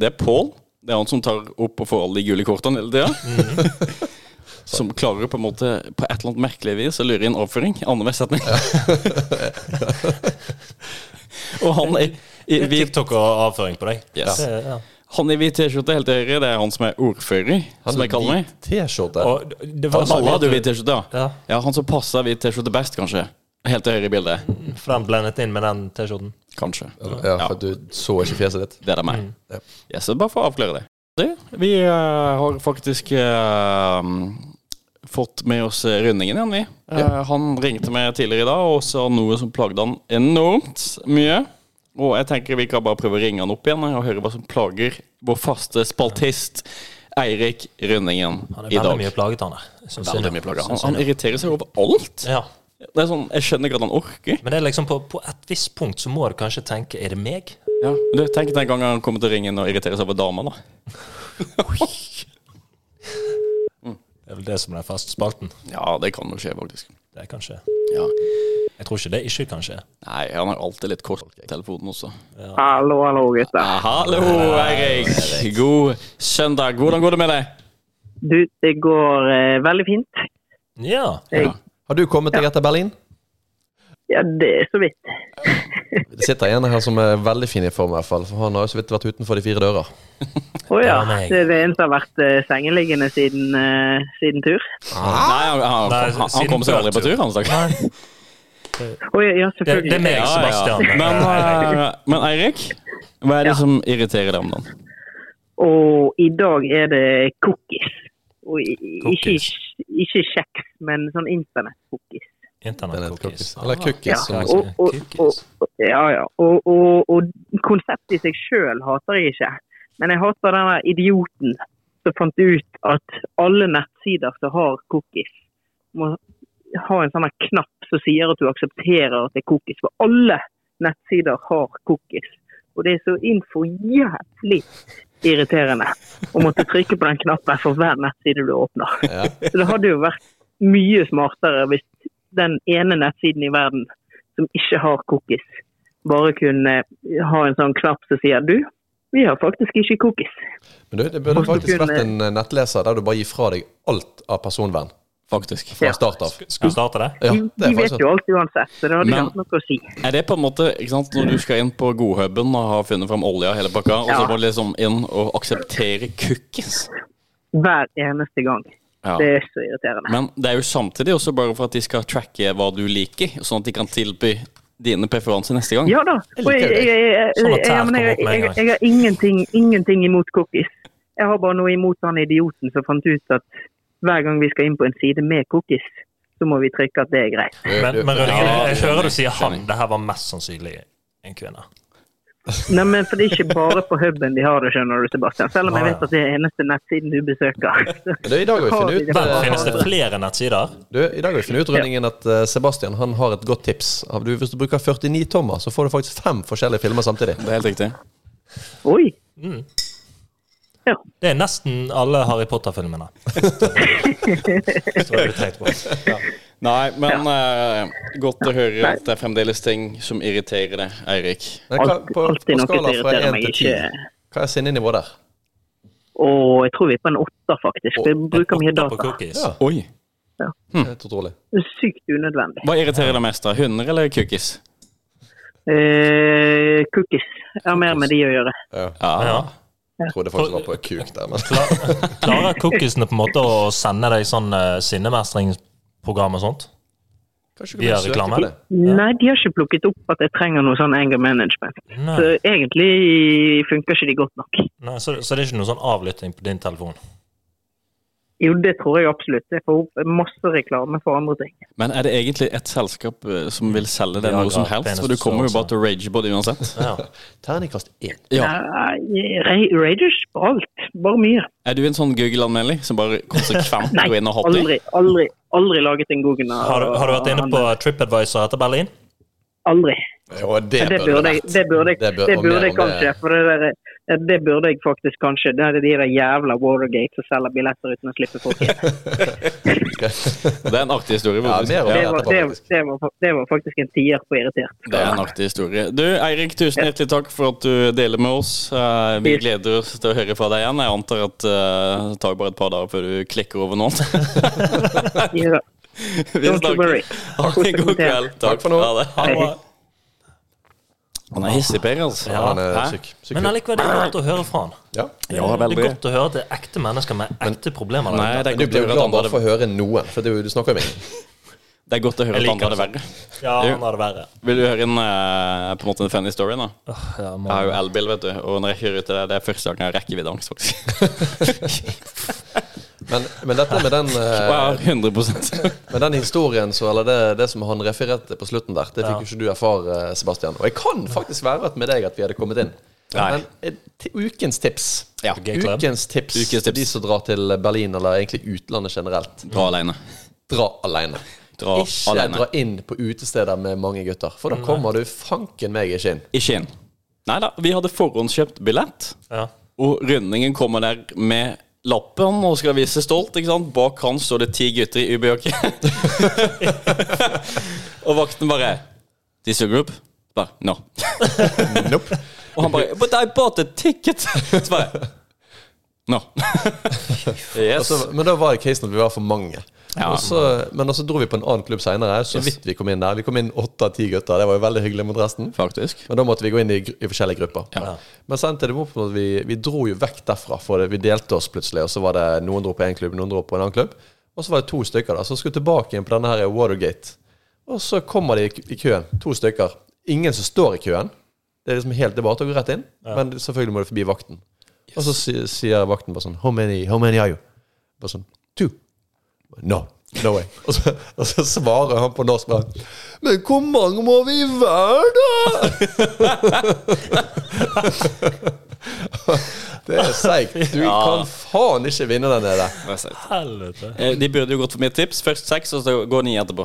[SPEAKER 3] det er Pål. Det er han som tar opp og får alle de gule kortene hele tida.
[SPEAKER 1] Mhm.
[SPEAKER 3] [LAUGHS] Som klarer på en måte På et eller annet merkelig vis å lure inn avføring. Annenhver setning. [LAUGHS] og han i, i hvit
[SPEAKER 2] TikTok og avføring på deg.
[SPEAKER 3] Yes.
[SPEAKER 2] Det, ja.
[SPEAKER 3] han i hvit T-skjorte helt til høyre, det er han som er ordfører,
[SPEAKER 1] Han
[SPEAKER 3] som jeg kaller meg.
[SPEAKER 1] hvit T-skjorte.
[SPEAKER 2] Og det var
[SPEAKER 3] Alle hadde jo hvit T-skjorte, ja.
[SPEAKER 2] Ja,
[SPEAKER 3] ja. Han som passa hvit T-skjorte best, kanskje. Helt til høyre i bildet.
[SPEAKER 1] Mm.
[SPEAKER 2] for den blendet inn med den T-skjorten.
[SPEAKER 3] Kanskje.
[SPEAKER 1] Ja, for du så ikke fjeset ditt.
[SPEAKER 3] Det er da meg.
[SPEAKER 1] Ja.
[SPEAKER 3] Ja, så bare for å avklare det. det Mm. vi eh, har faktisk eh, fått med oss rundingen igjen, vi. Eh, han ringte meg tidligere i dag og sa noe som plagde han enormt mye. Og jeg tenker vi kan bare prøve å ringe han opp igjen eh, og høre hva som plager vår faste spaltist Eirik Rundingen
[SPEAKER 2] Han er
[SPEAKER 3] i
[SPEAKER 2] veldig
[SPEAKER 3] dag.
[SPEAKER 2] mye plaget, han der. Jeg synes
[SPEAKER 3] Veldig
[SPEAKER 2] synd.
[SPEAKER 3] mye plager. Han,
[SPEAKER 2] Synes
[SPEAKER 3] han
[SPEAKER 2] synd.
[SPEAKER 3] irriterer seg over alt.
[SPEAKER 2] Ja.
[SPEAKER 3] Det er sånn, Jeg skjønner ikke at han orker.
[SPEAKER 2] Men det er liksom på, på et visst punkt så må du kanskje tenke Er det meg?
[SPEAKER 3] Ja. Du, Tenk den gangen han kommer til å ringe inn og irritere seg over dama, da.
[SPEAKER 2] Det er vel det som er den faste spalten.
[SPEAKER 3] Ja, det kan jo skje, faktisk.
[SPEAKER 2] Det kan skje.
[SPEAKER 3] Ja.
[SPEAKER 2] Jeg tror ikke det ikke kan skje.
[SPEAKER 3] Nei, han er alltid litt kort i telefonen også.
[SPEAKER 7] Hallo, hallo, gutter.
[SPEAKER 3] Hallo, Eirik. God søndag. Hvordan går det med deg?
[SPEAKER 7] Du, det går eh, veldig fint.
[SPEAKER 2] Ja.
[SPEAKER 7] Jeg,
[SPEAKER 1] Har du kommet deg etter Berlin?
[SPEAKER 7] ja, det er så vidt.
[SPEAKER 1] Det sitter en her som er veldig fin i form, i hvert fall. For han har jo så vidt vært utenfor de fire dører.
[SPEAKER 7] Å
[SPEAKER 2] Det
[SPEAKER 7] ja.
[SPEAKER 2] var meg.
[SPEAKER 7] Det er det en som har vært eh, sengeliggende siden, eh, siden tur.
[SPEAKER 3] Nei, han, han,
[SPEAKER 2] Nei,
[SPEAKER 3] han, han
[SPEAKER 2] siden
[SPEAKER 3] kommer seg aldri på tur,
[SPEAKER 2] før
[SPEAKER 3] han stakkar.
[SPEAKER 2] Nei,
[SPEAKER 7] Å ja,
[SPEAKER 2] det,
[SPEAKER 7] ja,
[SPEAKER 2] det
[SPEAKER 7] selvfølgelig.
[SPEAKER 2] er meg, Sebastian.
[SPEAKER 3] Men, eh, men Eirik, hva er det som irriterer deg om dagen?
[SPEAKER 7] Og i dag er det cookies. Og i, i- ikke,
[SPEAKER 2] Cookies.
[SPEAKER 7] ikke kjeks, men sånn internett-cookies.
[SPEAKER 2] Internett-cookies.
[SPEAKER 1] Eller
[SPEAKER 7] Ja.
[SPEAKER 1] altså, cookies. som det
[SPEAKER 7] Og,
[SPEAKER 1] sier.
[SPEAKER 7] og, og, og, ja, ja. Og, og, og konseptet i seg sjøl hater jeg ikke. Men jeg hater den der idioten som fant ut at alle nettsider som har cookies, må ha en sånn her knapp som sier at du aksepterer at det er cookies. For alle nettsider har cookies. Og det er så innfor jævlig irriterende å måtte trykke på den knappen for hver nettside du åpner.
[SPEAKER 1] Ja.
[SPEAKER 7] Så det hadde jo vært mye smartere hvis den ene nettsiden i verden som ikke har cookies, bare kunne ha en sånn knapp som sier du, vi har faktisk ikke cookies.
[SPEAKER 1] Men du, det burde
[SPEAKER 7] Hvorfor
[SPEAKER 1] faktisk
[SPEAKER 7] kunne-
[SPEAKER 1] vært en eh, nettleser der du bare gir fra deg alt av personvern
[SPEAKER 3] Faktisk.
[SPEAKER 1] fra
[SPEAKER 7] Ja.
[SPEAKER 1] start av.
[SPEAKER 2] Skal vi starte det?
[SPEAKER 1] Ja,
[SPEAKER 7] de
[SPEAKER 1] det
[SPEAKER 7] de
[SPEAKER 1] er
[SPEAKER 7] vet
[SPEAKER 1] faktisk sånn.
[SPEAKER 7] jo alt uansett, så det
[SPEAKER 3] Men-
[SPEAKER 7] hadde ikke hatt noe å si.
[SPEAKER 3] Er det på en måte ikke sant, når du skal inn på godhuben og har funnet fram olja hele pakka, og så
[SPEAKER 7] Ja.
[SPEAKER 3] må du liksom inn og akseptere cookies?
[SPEAKER 7] Hver eneste gang.
[SPEAKER 3] Ja.
[SPEAKER 7] Det er så irriterende.
[SPEAKER 3] Men det er jo samtidig også bare for at de skal tracke hva du liker, sånn at de kan tilby dine preferanser neste gang.
[SPEAKER 7] Ja da. Og jeg, jeg, jeg, jeg,
[SPEAKER 2] Sånn at
[SPEAKER 7] jeg, ja, men
[SPEAKER 2] tær kommer
[SPEAKER 7] jeg,
[SPEAKER 2] opp med en
[SPEAKER 7] jeg,
[SPEAKER 2] gang.
[SPEAKER 7] jeg har ingenting, ingenting imot cookies. Jeg har bare noe imot han idioten som fant ut at hver gang vi skal inn på en side med cookies, så må vi trykke at det er greit.
[SPEAKER 2] Men,
[SPEAKER 1] eh,
[SPEAKER 2] men Rønningen,
[SPEAKER 3] Ja,
[SPEAKER 2] jeg hører du sier han.
[SPEAKER 3] skjønner.
[SPEAKER 2] Det her var mest sannsynlig en kvinne.
[SPEAKER 7] Nei, men for Det er ikke bare på huben de har det, skjønner du, Sebastian. Selv om jeg
[SPEAKER 2] Ja, ja.
[SPEAKER 7] vet at det er eneste nettsiden du besøker.
[SPEAKER 1] Du, I dag har vi funnet ut,
[SPEAKER 2] Men
[SPEAKER 7] Har vi
[SPEAKER 1] eh,
[SPEAKER 2] finnes det flere nettsider?
[SPEAKER 1] du, i dag har vi funnet ut Rønningen, at eh, Sebastian han har et godt tips. Av Du, hvis du bruker 49 tommer, så får du faktisk fem forskjellige filmer samtidig.
[SPEAKER 3] Det er helt riktig.
[SPEAKER 7] Oi! Ja.
[SPEAKER 2] Det er nesten alle Harry Potter-filmene. Så det er det tenkt på. Ja.
[SPEAKER 3] Nei, men eh, godt å høre at det er fremdeles ting som irriterer deg, Eirik.
[SPEAKER 1] Men hva,
[SPEAKER 7] Alt,
[SPEAKER 1] på,
[SPEAKER 7] alltid
[SPEAKER 1] på
[SPEAKER 7] noe som
[SPEAKER 1] skala fra
[SPEAKER 7] irriterer
[SPEAKER 1] 1
[SPEAKER 7] meg.
[SPEAKER 1] til 10,
[SPEAKER 7] Ikke.
[SPEAKER 1] hva er sinnenivået der?
[SPEAKER 7] Og jeg tror vi er på en åtter, faktisk. Vi bruker mye
[SPEAKER 2] Åtte på
[SPEAKER 7] data.
[SPEAKER 2] cookies.
[SPEAKER 1] Ja.
[SPEAKER 3] Oi.
[SPEAKER 2] Hm.
[SPEAKER 1] Helt utrolig.
[SPEAKER 7] Sykt unødvendig.
[SPEAKER 3] Hva irriterer deg mest, da? Hunder eller cookies?
[SPEAKER 7] Eh, cookies. Jeg har mer med de å gjøre.
[SPEAKER 2] Ja.
[SPEAKER 1] Jeg trodde faktisk det var på en kuk der, men
[SPEAKER 2] Klarer cookiesene på en måte å sende deg sånn eh, sinnemestringsprogram og sånt?
[SPEAKER 1] kanskje
[SPEAKER 2] Vi
[SPEAKER 1] du
[SPEAKER 2] har
[SPEAKER 1] kan søke
[SPEAKER 2] reklame.
[SPEAKER 1] på det?
[SPEAKER 7] Nei, de har ikke plukket opp at jeg trenger noe sånn anger management. Så
[SPEAKER 2] Nei.
[SPEAKER 7] egentlig funker ikke de godt nok.
[SPEAKER 2] Nei, så, så det er ikke noe sånn avlytting på din telefon?
[SPEAKER 7] Jo, det tror jeg absolutt. Jeg får opp masse reklame for andre ting.
[SPEAKER 3] Men er det egentlig et selskap eh, som vil selge deg
[SPEAKER 2] Ja,
[SPEAKER 3] noe som
[SPEAKER 2] ja,
[SPEAKER 3] helst? For
[SPEAKER 2] penis
[SPEAKER 3] du kommer jo
[SPEAKER 2] også.
[SPEAKER 3] bare til å rage på det
[SPEAKER 2] [LAUGHS]
[SPEAKER 3] uansett.
[SPEAKER 2] Ja.
[SPEAKER 1] Terningkast 1.
[SPEAKER 3] Ja.
[SPEAKER 7] Nei, Ra- Raiders på alt. Bare mye.
[SPEAKER 3] Er du en sånn Google-anmelder som bare konsekvent
[SPEAKER 7] [LAUGHS] Nei,
[SPEAKER 3] går inn og hater?
[SPEAKER 7] aldri, aldri, aldri laget en Google.
[SPEAKER 2] Har, du, har du vært inne på TripAdvisor etter Berlin?
[SPEAKER 7] Aldri.
[SPEAKER 1] Jo, det,
[SPEAKER 7] Ja, det burde jeg, det burde jeg,
[SPEAKER 1] Det bør-
[SPEAKER 7] det
[SPEAKER 1] og
[SPEAKER 7] burde
[SPEAKER 1] mer
[SPEAKER 7] jeg
[SPEAKER 1] om det.
[SPEAKER 7] kanskje. For det, der, ja, det burde jeg faktisk kanskje. Det er de der jævla Watergate som selger billetter uten å slippe folk inn.
[SPEAKER 3] Det er en artig historie.
[SPEAKER 1] Ja, mer
[SPEAKER 3] faktisk.
[SPEAKER 1] om
[SPEAKER 7] Det
[SPEAKER 1] det
[SPEAKER 7] var,
[SPEAKER 1] etterpå.
[SPEAKER 7] det,
[SPEAKER 1] faktisk.
[SPEAKER 7] det, var, det var faktisk en tier på
[SPEAKER 3] [LAUGHS]
[SPEAKER 7] irritert.
[SPEAKER 3] Det er en artig historie. Du, Eirik, tusen hjertelig takk for at du deler med oss. Eh, Vi gleder oss til å høre fra deg igjen. Jeg antar at eh, det tar bare et par dager før du klikker over noen. [LAUGHS]
[SPEAKER 7] Ja,
[SPEAKER 3] Vi
[SPEAKER 7] Don't you worry.
[SPEAKER 3] snakkes. Ha en god kveld.
[SPEAKER 1] Takk for nå.
[SPEAKER 3] Ha det.
[SPEAKER 2] Han var,
[SPEAKER 3] Han er hissig, Per, altså.
[SPEAKER 1] Ja, han er
[SPEAKER 3] Hæ?
[SPEAKER 1] syk. syk
[SPEAKER 2] men
[SPEAKER 1] gutt.
[SPEAKER 2] allikevel, det er godt å høre fra han.
[SPEAKER 1] ja.
[SPEAKER 2] Ja, det er godt å høre at det er ekte mennesker med ekte problemer. der
[SPEAKER 3] Nei,
[SPEAKER 2] ute.
[SPEAKER 3] det
[SPEAKER 1] Men
[SPEAKER 3] er
[SPEAKER 1] du blir
[SPEAKER 3] godt å
[SPEAKER 1] jo
[SPEAKER 3] høre at
[SPEAKER 1] glad
[SPEAKER 3] han
[SPEAKER 1] bare
[SPEAKER 3] hadde,
[SPEAKER 1] for å høre noen, for det, er jo- du snakker jo med ingen.
[SPEAKER 3] det, er godt å høre
[SPEAKER 2] Jeg
[SPEAKER 3] at han
[SPEAKER 2] liker
[SPEAKER 3] hadde
[SPEAKER 2] han
[SPEAKER 3] verre.
[SPEAKER 2] Ja, han har det verre.
[SPEAKER 3] Vil du høre en, eh, på en måte en funny story? nå?
[SPEAKER 2] Åh, ja,
[SPEAKER 3] Jeg har
[SPEAKER 2] man,
[SPEAKER 3] jo elbil, vet du. Og når jeg kjører ut til det, det er første gang jeg har rekkeviddeangst, faktisk.
[SPEAKER 1] Men, men dette med den, eh,
[SPEAKER 3] [LAUGHS] Wow, 100
[SPEAKER 1] med den historien, så, eller det, det som han refererte på slutten der, det fikk jo ikke du erfare, eh, Sebastian. Og jeg kan faktisk være at med deg at vi hadde kommet inn.
[SPEAKER 3] Nei.
[SPEAKER 1] Men eh, ti- ukens tips.
[SPEAKER 3] Ja.
[SPEAKER 2] Club.
[SPEAKER 1] Ukens tips,
[SPEAKER 3] Ukens tips.
[SPEAKER 1] De som drar til Berlin, eller egentlig utlandet generelt,
[SPEAKER 3] Dra alene.
[SPEAKER 1] dra alene.
[SPEAKER 3] Dra
[SPEAKER 1] ikke
[SPEAKER 3] alene. Mm.
[SPEAKER 1] dra inn på utesteder med mange gutter, for da kommer du fanken meg ikke inn.
[SPEAKER 3] Ikke inn. Nei da, vi hadde forhåndskjøpt billett.
[SPEAKER 2] ja.
[SPEAKER 3] Og rønningen kommer der med lappen og skal vise stolt. ikke sant? Bak han står det ti gutter i UB-jakke. [LAUGHS] og vakten bare This your group? Bare, no.
[SPEAKER 1] Nope.
[SPEAKER 3] Og han bare But I bought a ticket! [LAUGHS] Så bare No. [LAUGHS] yes.
[SPEAKER 1] Så, men da var det casen at vi var for mange.
[SPEAKER 3] Ja.
[SPEAKER 1] Og så- men så dro vi på en annen klubb seinere, så vidt vi kom inn der. Vi kom inn åtte av ti gutter. Det var jo veldig hyggelig mot resten.
[SPEAKER 3] Faktisk.
[SPEAKER 1] Men da måtte vi gå inn i, gr- i forskjellige grupper.
[SPEAKER 3] Ja.
[SPEAKER 1] Men så endte det opp med at vi, vi dro jo vekk derfra. For det, vi delte oss plutselig, og så var det noen dro på én klubb, noen dro på en annen klubb. Og så var det to stykker da, som skulle tilbake igjen på denne her Watergate. Og så kommer de i, k- i køen, to stykker. Ingen som står i køen. Det er liksom helt, det er bare til å gå rett inn. Men selvfølgelig må du forbi vakten. Og så si- sier vakten bare sånn How many, how many are you? Bare sånn Two. No. No way. [LAUGHS] Og så, og så svarer han på norsk bare Men hvor mange må vi være, da? Det er seigt.
[SPEAKER 3] [LAUGHS]
[SPEAKER 1] Du kan faen ikke vinne den der. [LAUGHS]
[SPEAKER 2] Helvete.
[SPEAKER 3] Eh, De burde jo gått for mitt tips. Først seks, og så går ni etterpå.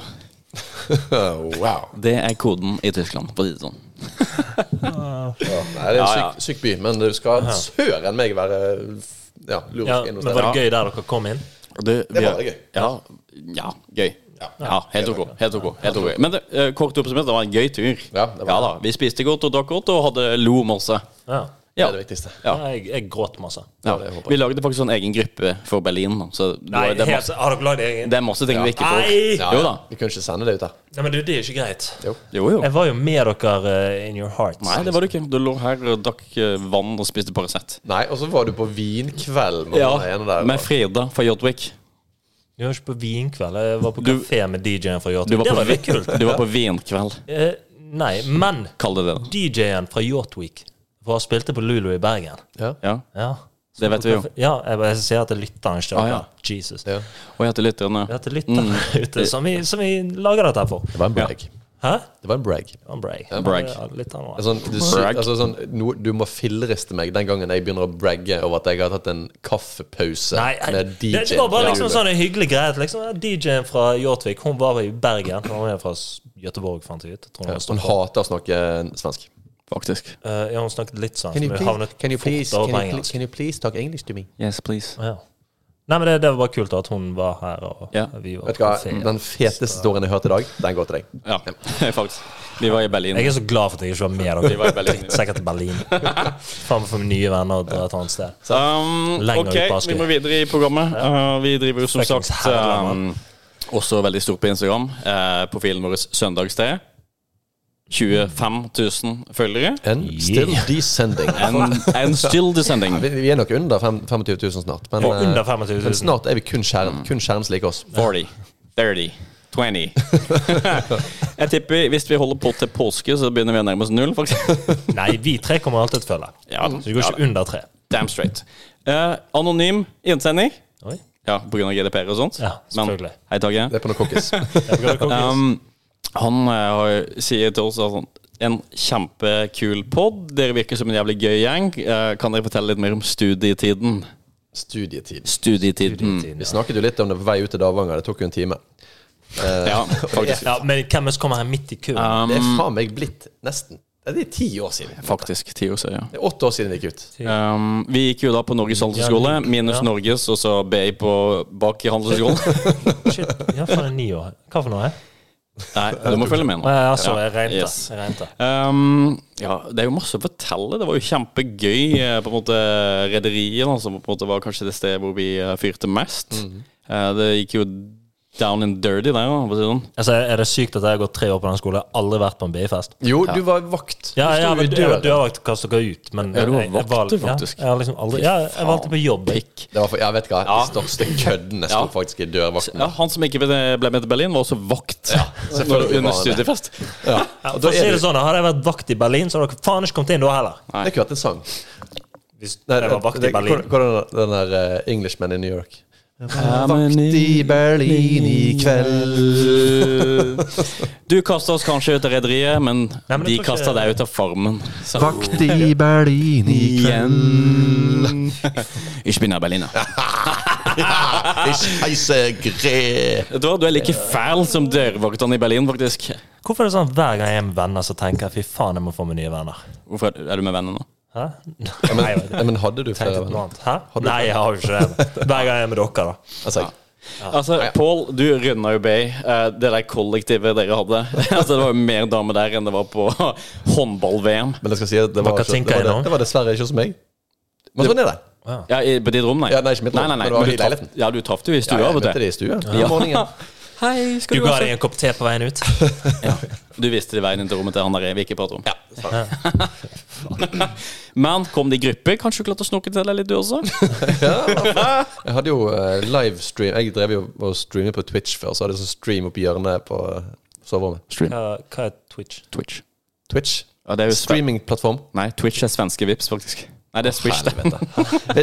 [SPEAKER 1] Wow.
[SPEAKER 3] Det er koden i Tyskland. på det sånn.
[SPEAKER 1] Nei, det er en
[SPEAKER 3] Ja, ja.
[SPEAKER 1] syk, syk by, men du skal søren meg være eh, ja, lurisk
[SPEAKER 2] Ja,
[SPEAKER 1] inn
[SPEAKER 2] men
[SPEAKER 1] hos
[SPEAKER 2] Var
[SPEAKER 1] deg.
[SPEAKER 2] det gøy der dere kom inn?
[SPEAKER 1] Det var gøy.
[SPEAKER 3] Ja, ja gøy. Ja, helt ok. Helt ok, helt ok. Men det, eh, kort oppsummert, det var en gøy tur.
[SPEAKER 1] Ja, det var
[SPEAKER 3] da. Vi spiste godt og drakk godt og hadde lo masse.
[SPEAKER 2] Ja.
[SPEAKER 1] Det
[SPEAKER 3] Ja.
[SPEAKER 1] er det viktigste.
[SPEAKER 3] Ja.
[SPEAKER 2] Nei, Jeg, jeg gråt masse.
[SPEAKER 3] Ja.
[SPEAKER 1] det håper jeg.
[SPEAKER 3] Vi lagde faktisk sånn egen gruppe for Berlin. Da. Så det
[SPEAKER 2] Nei,
[SPEAKER 3] var- det, er
[SPEAKER 2] helt,
[SPEAKER 3] masse,
[SPEAKER 2] har dere lagd egen?
[SPEAKER 3] det er masse ting vi ikke får.
[SPEAKER 2] Nei!
[SPEAKER 1] Ja,
[SPEAKER 3] Jo da.
[SPEAKER 1] Vi kunne ikke sende det ut der.
[SPEAKER 2] Nei, men du, det er ikke greit.
[SPEAKER 3] Jo, jo.
[SPEAKER 2] Jeg var jo med dere eh, in your hearts.
[SPEAKER 3] Nei, det var du ikke. Du lå her og drakk eh, vann og spiste Paracet.
[SPEAKER 1] Nei, og så var du på vinkveld med
[SPEAKER 3] Ja,
[SPEAKER 1] han ene der.
[SPEAKER 3] med Frida fra Jodwick.
[SPEAKER 2] Jeg var ikke på vinkveld. Jeg var på
[SPEAKER 3] Du-
[SPEAKER 2] kafé med DJ-en fra
[SPEAKER 3] Du
[SPEAKER 2] Yachtweek.
[SPEAKER 3] var
[SPEAKER 2] Det
[SPEAKER 3] på,
[SPEAKER 2] var litt
[SPEAKER 3] [LAUGHS] vi-
[SPEAKER 2] kult.
[SPEAKER 3] du var på vinkveld.
[SPEAKER 2] Eh, Nei, men
[SPEAKER 3] Kall det det, da.
[SPEAKER 2] DJ-en fra Yachtweek var spilte på Lulu i Bergen.
[SPEAKER 3] Ja.
[SPEAKER 2] Ja.
[SPEAKER 3] Det vet vi jo.
[SPEAKER 2] Ja, jeg, jeg sier at det er lytteren ikke
[SPEAKER 3] Ah,
[SPEAKER 2] dere.
[SPEAKER 3] ja. Mm.
[SPEAKER 2] Jesus.
[SPEAKER 1] Ja.
[SPEAKER 3] Og jeg heter lytterne.
[SPEAKER 2] Det er til lytteren ute som vi, som vi lager dette her for.
[SPEAKER 1] Det var en brag.
[SPEAKER 2] Hæ?
[SPEAKER 1] Det var en brag.
[SPEAKER 2] Han brag.
[SPEAKER 3] brag.
[SPEAKER 2] Ja, litt av noe.
[SPEAKER 1] Altså, sånn, du, sy-
[SPEAKER 3] Brag.
[SPEAKER 1] altså, sånn, no, du må filleriste meg den gangen jeg begynner å bragge over at jeg har tatt en kaffepause
[SPEAKER 2] Nei, jeg-
[SPEAKER 1] med DJ.
[SPEAKER 2] det, det var bare
[SPEAKER 1] Ja.
[SPEAKER 2] liksom sånn en hyggelig greie. at Liksom, ja, DJ-en fra Hjortvik hun var i Bergen. Hun er fra S- Göteborg, fant jeg ut. Tror hun,
[SPEAKER 1] Hun
[SPEAKER 2] ja,
[SPEAKER 1] hater å snakke svensk.
[SPEAKER 3] Faktisk.
[SPEAKER 2] ja, hun snakket litt sånn. men Liksom, havnet fort over på engelsk.
[SPEAKER 1] talk English to me?
[SPEAKER 3] Yes, please.
[SPEAKER 2] Ja. Nei, men det, det var bare kult at hun var her, og
[SPEAKER 3] Ja.
[SPEAKER 2] vi var
[SPEAKER 1] Vet du hva,
[SPEAKER 2] på ferie.
[SPEAKER 1] Den feteste storyen jeg hørte i dag, den går til deg.
[SPEAKER 3] Ja, [LAUGHS] faktisk. Vi var i Berlin.
[SPEAKER 2] Jeg er så glad for at jeg ikke var med dere.
[SPEAKER 3] var i Berlin, ja.
[SPEAKER 2] [LAUGHS] Sikkert til Berlin. Faen meg for nye venner og dra et annet sted.
[SPEAKER 3] Um,
[SPEAKER 2] Lenger
[SPEAKER 3] ok,
[SPEAKER 2] ut på Askøy.
[SPEAKER 3] vi må videre i programmet. Uh, vi driver jo som
[SPEAKER 2] Fuckings
[SPEAKER 3] sagt
[SPEAKER 2] herreland,
[SPEAKER 3] um, også veldig stort på Instagram. Uh, profilen vår Søndagste. 25 000 følgere.
[SPEAKER 1] And still [LAUGHS] descending.
[SPEAKER 3] And, and still descending.
[SPEAKER 1] Vi, vi er nok under fem- 25 000 snart. Men,
[SPEAKER 2] Og
[SPEAKER 1] eh,
[SPEAKER 2] under 25 000.
[SPEAKER 1] men snart er vi kun skjerm, kun skjerms like oss.
[SPEAKER 3] 40, 30,
[SPEAKER 2] [LAUGHS]
[SPEAKER 3] 20. Jeg tipper hvis vi holder på til påske, så begynner vi å nærme oss null,
[SPEAKER 2] [LAUGHS]
[SPEAKER 3] faktisk.
[SPEAKER 2] Nei, vi tre kommer alltid til å følge.
[SPEAKER 3] Ja, da.
[SPEAKER 2] Så det går ikke under tre.
[SPEAKER 3] Damn straight. Uh, anonym innsending.
[SPEAKER 2] Oi.
[SPEAKER 3] Ja, på grunn av GDPR og sånt.
[SPEAKER 2] Ja, selvfølgelig.
[SPEAKER 3] Men, hei, Tage.
[SPEAKER 1] Det er på noe kokkis.
[SPEAKER 3] Um, han eh, har- sier til oss at han- en kjempekul pod. Dere virker som en jævlig gøy gjeng. Eh, kan dere fortelle litt mer om studietiden?
[SPEAKER 1] Studietid.
[SPEAKER 3] Studietiden.
[SPEAKER 1] Vi snakket jo litt om det på vei ut til Davanger. Det tok jo en time.
[SPEAKER 3] Mm.
[SPEAKER 1] Eh,
[SPEAKER 3] Ja, faktisk.
[SPEAKER 2] Ja, men hvem er som kommer her midt i køen?
[SPEAKER 1] Det er
[SPEAKER 3] Um,
[SPEAKER 1] faen meg blitt nesten Det er ti år siden.
[SPEAKER 3] faktisk. Ti år siden, ja.
[SPEAKER 1] Det er åtte år siden det gikk ut.
[SPEAKER 3] Um, vi gikk jo da på Norges handelshøyskole, minus
[SPEAKER 2] Ja.
[SPEAKER 3] Norges, og så BI på bak i handelshøyskolen.
[SPEAKER 2] Shit, ja, faen, det er ni år. Hva for noe?
[SPEAKER 3] Nei, du må følge med nå.
[SPEAKER 2] Ja, altså, jeg regnet.
[SPEAKER 3] Yes.
[SPEAKER 2] Jeg regnet.
[SPEAKER 3] Um, ja, det er jo masse å fortelle. Det var jo kjempegøy. eh, På en måte Rederiet, da, som på en måte var kanskje det stedet hvor vi eh, fyrte mest.
[SPEAKER 1] Mhm.
[SPEAKER 3] Eh, det gikk jo down and dirty der, da, for å si det sånn.
[SPEAKER 2] Altså, er det sykt at jeg har gått tre år på den skolen? Jeg har Aldri vært på en BI-fest?
[SPEAKER 1] Jo, du var vakt.
[SPEAKER 2] Ja,
[SPEAKER 1] du
[SPEAKER 2] jeg
[SPEAKER 1] sto
[SPEAKER 2] var
[SPEAKER 1] i
[SPEAKER 2] dø-
[SPEAKER 1] døren.
[SPEAKER 2] dørvakt kastet dere ut, men
[SPEAKER 3] Ja, du var
[SPEAKER 2] jeg- jeg
[SPEAKER 3] vakt,
[SPEAKER 2] valg-
[SPEAKER 3] du, faktisk.
[SPEAKER 2] Ja, jeg, har liksom aldri, ja, jeg var alltid på jobb.
[SPEAKER 1] Det var for, ja, vet du hva?
[SPEAKER 3] Ja.
[SPEAKER 1] De største køddene sto
[SPEAKER 3] Ja.
[SPEAKER 1] faktisk i dørvakten.
[SPEAKER 3] Ja, han som ikke ble ble med til Berlin, var også vakt [LAUGHS]
[SPEAKER 1] selvfølgelig var
[SPEAKER 3] under
[SPEAKER 1] han det.
[SPEAKER 3] studiefest.
[SPEAKER 1] [LAUGHS]
[SPEAKER 2] Ja,
[SPEAKER 1] Og
[SPEAKER 2] for
[SPEAKER 1] da
[SPEAKER 2] å si
[SPEAKER 1] er
[SPEAKER 2] det
[SPEAKER 1] det,
[SPEAKER 2] sånn, Hadde jeg vært vakt i Berlin, så hadde dere faen ikke kommet inn da heller.
[SPEAKER 1] det kunne vært en sang.
[SPEAKER 2] Hvis
[SPEAKER 1] Nei,
[SPEAKER 2] jeg var vakt i
[SPEAKER 1] det-
[SPEAKER 2] Berlin.
[SPEAKER 1] Hvordan hvordan er den der eh, Englishman i New York?
[SPEAKER 3] Vakt
[SPEAKER 1] I Berlin i kveld.
[SPEAKER 3] [LAUGHS] Du kasta oss kanskje ut av rederiet, men,
[SPEAKER 2] Nei, men jeg tror
[SPEAKER 3] de
[SPEAKER 2] ikke-
[SPEAKER 3] kasta deg ut av farmen. Så
[SPEAKER 1] Vakt i Berlin i
[SPEAKER 3] igjen [LAUGHS] Ich bin ein Berliner.
[SPEAKER 1] [LAUGHS] Ich heiße Gre.
[SPEAKER 3] Vet du hva, du er like fæl som dørvaktene i Berlin, faktisk.
[SPEAKER 2] Hvorfor er det sånn at hver gang jeg er med venner, så tenker jeg fy faen, jeg må få meg nye venner?
[SPEAKER 3] Hvorfor er- er du med venner nå?
[SPEAKER 2] Hæ? [LAUGHS]
[SPEAKER 1] Ja, men, ja, men hadde du
[SPEAKER 2] Tenkte
[SPEAKER 1] flere
[SPEAKER 2] på noe
[SPEAKER 1] venner?
[SPEAKER 2] annet. Hæ? Nei, jeg har jo ikke det. Hver gang jeg er med dere, da.
[SPEAKER 1] Altså,
[SPEAKER 3] Altså, Pål, du runda jo Bay. Eh, Det der kollektivet dere hadde [LAUGHS] Altså, Det var jo mer damer der enn det var på [LAUGHS] håndball-VM.
[SPEAKER 1] men jeg skal si at det var,
[SPEAKER 2] Hva
[SPEAKER 1] ikke, det,
[SPEAKER 2] tenker jeg
[SPEAKER 1] var det,
[SPEAKER 2] nå?
[SPEAKER 1] det var dessverre ikke hos meg. Men sånn er det.
[SPEAKER 3] Ja, i- På ditt rom, nei?
[SPEAKER 1] Ja, nei, ikke mitt rom,
[SPEAKER 3] nei, nei, nei.
[SPEAKER 1] men det var
[SPEAKER 3] Men
[SPEAKER 1] i
[SPEAKER 3] du traff-
[SPEAKER 1] leiligheten.
[SPEAKER 3] ja, du traff det jo i
[SPEAKER 1] Ja,
[SPEAKER 3] stua.
[SPEAKER 1] jeg
[SPEAKER 3] vet
[SPEAKER 1] møtte
[SPEAKER 3] du.
[SPEAKER 1] det i stua. Om morgenen.
[SPEAKER 3] [LAUGHS] Hei, skal
[SPEAKER 2] Du
[SPEAKER 3] du,
[SPEAKER 2] ga
[SPEAKER 3] også?
[SPEAKER 2] dem en kopp te på veien ut.
[SPEAKER 3] Du visste det veien inn til rommet til han der vi ikke prater om. [LAUGHS] Men kom det i gruppe? Kanskje du klarte å snoke til deg litt, du også?
[SPEAKER 1] Jeg hadde jo eh, livestream. Jeg drev jo og streamet på Twitch før, så hadde jeg sånn stream oppi hjørnet på eh, soverommet.
[SPEAKER 3] Stream.
[SPEAKER 2] Hva, hva er Twitch?
[SPEAKER 3] Twitch.
[SPEAKER 1] [LAUGHS] Twitch.
[SPEAKER 3] Ja, det er jo sve-
[SPEAKER 1] Streamingplattform.
[SPEAKER 3] Nei, Twitch er svenske Vips, faktisk. Nei, det er Switch, det.
[SPEAKER 1] [LAUGHS] Vet,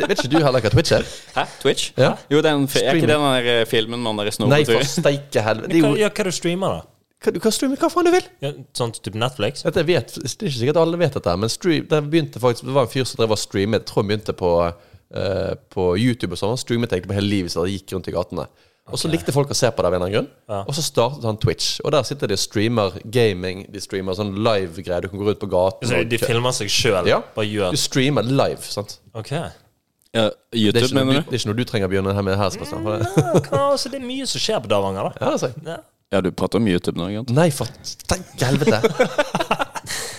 [SPEAKER 1] vet ikke du heller hva Twitch er?
[SPEAKER 3] Hæ? Twitch?
[SPEAKER 1] Ja.
[SPEAKER 3] Jo, det er, en, fi- er ikke det den der eh, filmen man der
[SPEAKER 1] Nei,
[SPEAKER 3] snorker
[SPEAKER 1] for
[SPEAKER 3] tur i?
[SPEAKER 1] steike helvete. Det
[SPEAKER 2] Hva,
[SPEAKER 1] er jo-
[SPEAKER 2] ja, hva er det du streamer, da?
[SPEAKER 1] Hva- Du kan streame hva faen du vil.
[SPEAKER 2] Ja, sånn type Netflix?
[SPEAKER 1] Dette vet, det er ikke sikkert alle vet dette, her, men stream, det, begynte faktisk, det var en fyr som drev og streamet. Jeg tror han begynte på, eh, på YouTube og sånn. Han streamet egentlig på hele livet sitt og gikk rundt i gatene. Og så likte folk å se på det av en eller annen grunn. Og så startet han Twitch. Og der sitter de og streamer gaming. De streamer sånn live-greier. Du kan gå ut på gaten
[SPEAKER 2] Så
[SPEAKER 1] og
[SPEAKER 2] de filmer seg sjøl?
[SPEAKER 1] sånn- ja. Du
[SPEAKER 2] Bare gjør
[SPEAKER 1] streamer live, sant?
[SPEAKER 2] Ok.
[SPEAKER 3] Ja,
[SPEAKER 1] Det er
[SPEAKER 3] YouTube,
[SPEAKER 1] ikke noe
[SPEAKER 3] mener
[SPEAKER 1] du,
[SPEAKER 3] du?
[SPEAKER 1] det er ikke noe du trenger å begynne her med her, Sebastian. for
[SPEAKER 2] [LAUGHS]
[SPEAKER 1] det-
[SPEAKER 2] Ja, hva- altså, det er mye som skjer på Davanger, da.
[SPEAKER 1] Ja, det sier jeg.
[SPEAKER 2] Ja.
[SPEAKER 3] Ja, du prater om YouTube nå, ikke sant?
[SPEAKER 1] Nei, for tenk helvete.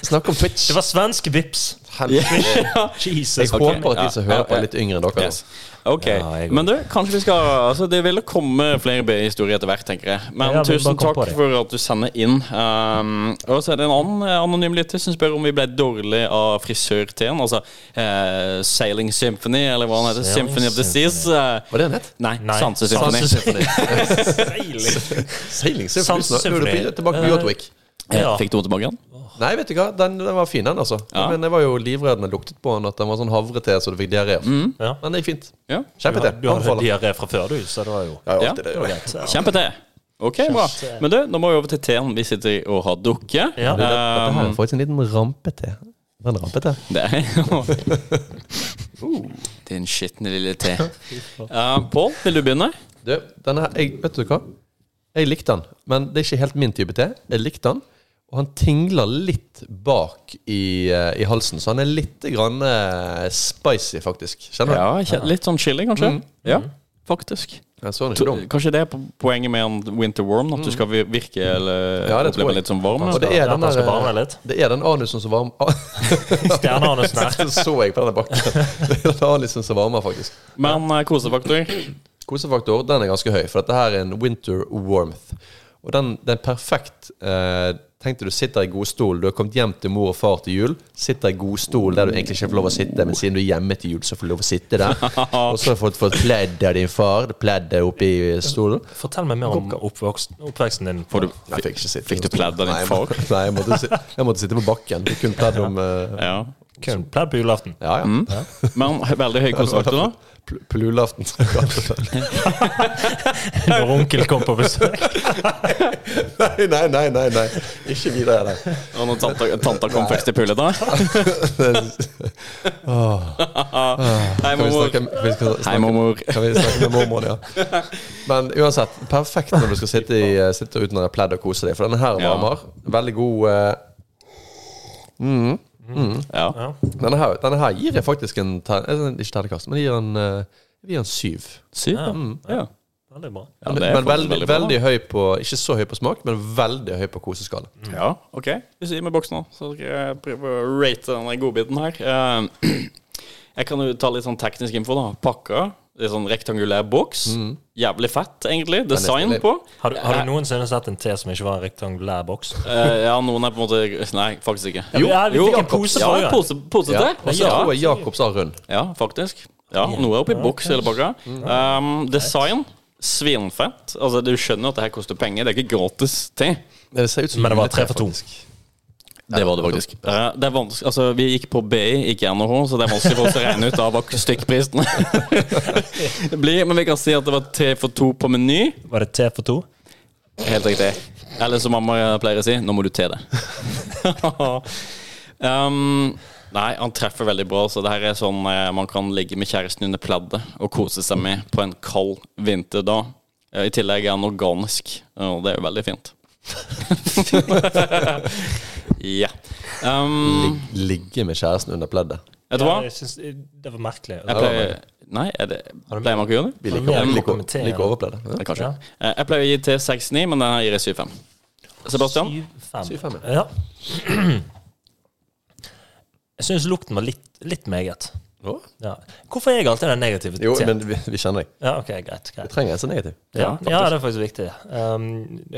[SPEAKER 1] Snakk om Twitch.
[SPEAKER 2] Det var svenske vips. [LAUGHS] Jesus.
[SPEAKER 1] Jeg håper at
[SPEAKER 3] Ja,
[SPEAKER 1] de som hører
[SPEAKER 3] ja,
[SPEAKER 1] på,
[SPEAKER 3] ja.
[SPEAKER 1] er litt yngre enn dere. altså.
[SPEAKER 3] Yes. Ok,
[SPEAKER 2] Ja, jeg går.
[SPEAKER 3] men du, kanskje vi skal Altså, det vil komme flere B-historier etter hvert, tenker jeg. Men
[SPEAKER 2] Ja, vi bare
[SPEAKER 3] tusen
[SPEAKER 2] kom
[SPEAKER 3] takk
[SPEAKER 2] på det.
[SPEAKER 3] for at du sender inn. Um, og så er det en annen eh, anonym lytter som spør om vi ble dårlig av frisørteen. Altså eh, Sailing Symphony, eller hva han heter.
[SPEAKER 2] Sailing
[SPEAKER 3] Symphony of the Seas. eh,
[SPEAKER 1] Hva er det den het?
[SPEAKER 3] nei,
[SPEAKER 2] Nei,
[SPEAKER 3] Sansesymfoni.
[SPEAKER 2] Sansesymfoni.
[SPEAKER 1] [LAUGHS] Sailing
[SPEAKER 2] Sansesymfoni.
[SPEAKER 1] Symphony. Nå er du tilbake på
[SPEAKER 2] Eh.
[SPEAKER 1] Yachtwick.
[SPEAKER 3] Eh,
[SPEAKER 2] Ja.
[SPEAKER 3] Fikk du vondt i magen?
[SPEAKER 1] Nei, vet du hva, den, den var fin, den, altså.
[SPEAKER 3] Ja.
[SPEAKER 1] Men jeg var jo livredd når jeg luktet på den, at den var sånn havrete så du fikk diaré. av.
[SPEAKER 2] Ja.
[SPEAKER 1] Men det gikk fint.
[SPEAKER 3] Mm. Ja.
[SPEAKER 2] Du
[SPEAKER 1] Kjempete.
[SPEAKER 2] hadde, du hadde
[SPEAKER 1] Anbefaler.
[SPEAKER 2] diaré fra før, du, så det var jo
[SPEAKER 1] Ja,
[SPEAKER 3] Ja.
[SPEAKER 1] alltid det, jo.
[SPEAKER 3] Kjempete. Ok, bra. Men du, nå må vi over til teen vi sitter og har dukke.
[SPEAKER 2] Ja.
[SPEAKER 1] Du, Dette her
[SPEAKER 3] Um,
[SPEAKER 1] er faktisk en liten rampete. Var det en rampete?
[SPEAKER 3] [LAUGHS] det er [LAUGHS] jo Uh. Din skitne lille [LAUGHS] te. Uh, Pål, vil du begynne?
[SPEAKER 1] Du, denne her, jeg, vet du hva? Jeg likte den, men det er ikke helt min type te. Jeg likte den, og han tingler litt bak i, eh, i halsen, så han er litt grann eh, spicy, faktisk. Kjenner du?
[SPEAKER 3] Ja, kje- Litt sånn chili, kanskje? Ja, faktisk.
[SPEAKER 1] Jeg så den ikke dum.
[SPEAKER 3] Kanskje det er po- poenget med en winter warm, at du skal vir- virke eller
[SPEAKER 1] Ja, det tror
[SPEAKER 3] oppleve
[SPEAKER 1] jeg.
[SPEAKER 3] litt sånn varm?
[SPEAKER 1] Og det er
[SPEAKER 2] Ja,
[SPEAKER 1] den
[SPEAKER 2] man skal varme
[SPEAKER 1] der,
[SPEAKER 2] litt.
[SPEAKER 1] det er den anusen som varmer [LAUGHS]
[SPEAKER 2] Stjerneanusen her.
[SPEAKER 1] Det så jeg på denne [LAUGHS] bakken. Det er den anusen som varmer, faktisk.
[SPEAKER 3] Men eh, kosefaktor?
[SPEAKER 1] Kosefaktor den er ganske høy, for dette her er en winter warmth. Og den, den er perfekt eh, Tenk deg du sitter i godstolen. Du har kommet hjem til mor og far til jul. Sitter i godstolen der du egentlig ikke får lov å sitte, men siden du er hjemme til jul, så får du lov å sitte
[SPEAKER 3] [LAUGHS]
[SPEAKER 1] der. Og så har du fått, fått pledd av din far. Det Pleddet oppi stolen.
[SPEAKER 2] Fortell meg mer om oppvokst, oppveksten din.
[SPEAKER 3] Får du,
[SPEAKER 1] Nei, jeg fikk ikke sitte.
[SPEAKER 3] fikk du pledd av din
[SPEAKER 1] [LAUGHS] Nei, jeg må-
[SPEAKER 3] far?
[SPEAKER 1] Nei, jeg måtte, si- jeg måtte sitte på bakken. Kun pledd om eh,
[SPEAKER 3] Ja.
[SPEAKER 2] Kun pledd på julaften.
[SPEAKER 1] Ja, ja.
[SPEAKER 3] Men veldig høy kostrakt [LAUGHS] da.
[SPEAKER 1] Pl- På julaften.
[SPEAKER 2] [LAUGHS] Når onkel kom på
[SPEAKER 1] [LAUGHS]
[SPEAKER 2] besøk.
[SPEAKER 1] nei, nei, nei, nei, nei. Ikke videre, nei.
[SPEAKER 3] Og når tanta, tanta kom først i pullet [LAUGHS] da. [LAUGHS]
[SPEAKER 1] Kan
[SPEAKER 3] Hei,
[SPEAKER 1] vi
[SPEAKER 3] mormor.
[SPEAKER 1] snakke, vi skal snakke,
[SPEAKER 3] Hei, mormor.
[SPEAKER 1] Kan vi snakke med mormor, ja. Men uansett, perfekt når du skal sitte, i, eh, sitte uten en pledd og kose deg. For denne her
[SPEAKER 3] Ja.
[SPEAKER 1] varmer. Veldig god eh,
[SPEAKER 3] Ja.
[SPEAKER 1] denne, her, denne her gir jeg faktisk en ter, eh, Ikke terningkast, men jeg gir en, eh, jeg gir en syv.
[SPEAKER 3] Sykt, da.
[SPEAKER 1] Mm.
[SPEAKER 3] Ja.
[SPEAKER 2] Veldig bra.
[SPEAKER 3] Ja,
[SPEAKER 1] men
[SPEAKER 3] det er
[SPEAKER 1] men
[SPEAKER 3] faktisk
[SPEAKER 1] veldig, veldig,
[SPEAKER 3] bra.
[SPEAKER 1] høy på Ikke så høy på smak, men veldig høy på koseskala.
[SPEAKER 3] Ja, ok. Du sier med boksen nå, så skal jeg prøve å rate denne godbiten her. Eh, [CLEARS THROAT] Jeg kan jo ta litt sånn teknisk info, da. Pakka. Litt sånn rektangulær boks. Jævlig fett, egentlig. Design
[SPEAKER 1] stilig.
[SPEAKER 3] på.
[SPEAKER 2] Har du, har du noensinne sett en te som ikke var en rektangulær boks?
[SPEAKER 3] Eh, ja, noen er på en måte Nei, faktisk ikke.
[SPEAKER 2] Jo, ja, vi fikk en pose
[SPEAKER 3] ja,
[SPEAKER 2] forrige.
[SPEAKER 3] pose, pose
[SPEAKER 1] Ja.
[SPEAKER 3] til.
[SPEAKER 1] Og så tror jeg Jacobs har rund.
[SPEAKER 3] Ja, faktisk. Ja, noe er oppi boks hele pakka.
[SPEAKER 2] Mm.
[SPEAKER 3] Um, design svinfett. Altså, du skjønner at det her koster penger. Det er ikke gratis te.
[SPEAKER 1] Det ser ut som
[SPEAKER 2] Men det var
[SPEAKER 1] juletre,
[SPEAKER 2] tre for to.
[SPEAKER 1] faktisk.
[SPEAKER 3] Det var det faktisk. Eh, det er vanskelig, altså, vi gikk på BI, ikke NHH, så det er vanskelig for oss å regne ut av hva stykkprisen [LAUGHS] blir. Men vi kan si at det var te for to på Meny.
[SPEAKER 2] Var det te for to?
[SPEAKER 3] Helt riktig. Eller som mamma pleier å si, nå må du te det. [LAUGHS] um, nei, han treffer veldig bra. Så det her er sånn eh, man kan ligge med kjæresten under pleddet og kose seg med på en kald vinterdag. Eh, I tillegg er han organisk, og det er jo veldig fint. [LAUGHS] ja. Um,
[SPEAKER 1] Ligge med kjæresten under pleddet.
[SPEAKER 3] vet du hva?
[SPEAKER 2] jeg synes, det var merkelig.
[SPEAKER 3] Jeg pleier, nei, er det, pleier man ikke å gjøre det?
[SPEAKER 1] Vi
[SPEAKER 2] Men
[SPEAKER 1] liker,
[SPEAKER 2] vi må
[SPEAKER 1] liker,
[SPEAKER 2] kommentere.
[SPEAKER 1] liker overpleddet. Ja.
[SPEAKER 3] Eh, Kanskje. Eh, Jeg pleier å gi til 6-9, men denne gir jeg 7-5. Sebastian?
[SPEAKER 2] Syv,
[SPEAKER 1] Syv-fem,
[SPEAKER 2] ja. [CLEARS THROAT] Jeg syns lukten var litt, litt meget.
[SPEAKER 1] Å?
[SPEAKER 2] Ja. Hvorfor er jeg alltid den negative?
[SPEAKER 1] Jo,
[SPEAKER 2] til?
[SPEAKER 1] men vi, vi kjenner deg.
[SPEAKER 2] ja, ok, greit, greit.
[SPEAKER 1] Vi trenger en som er negativ.
[SPEAKER 2] Ja, ja, det er faktisk viktig. Um,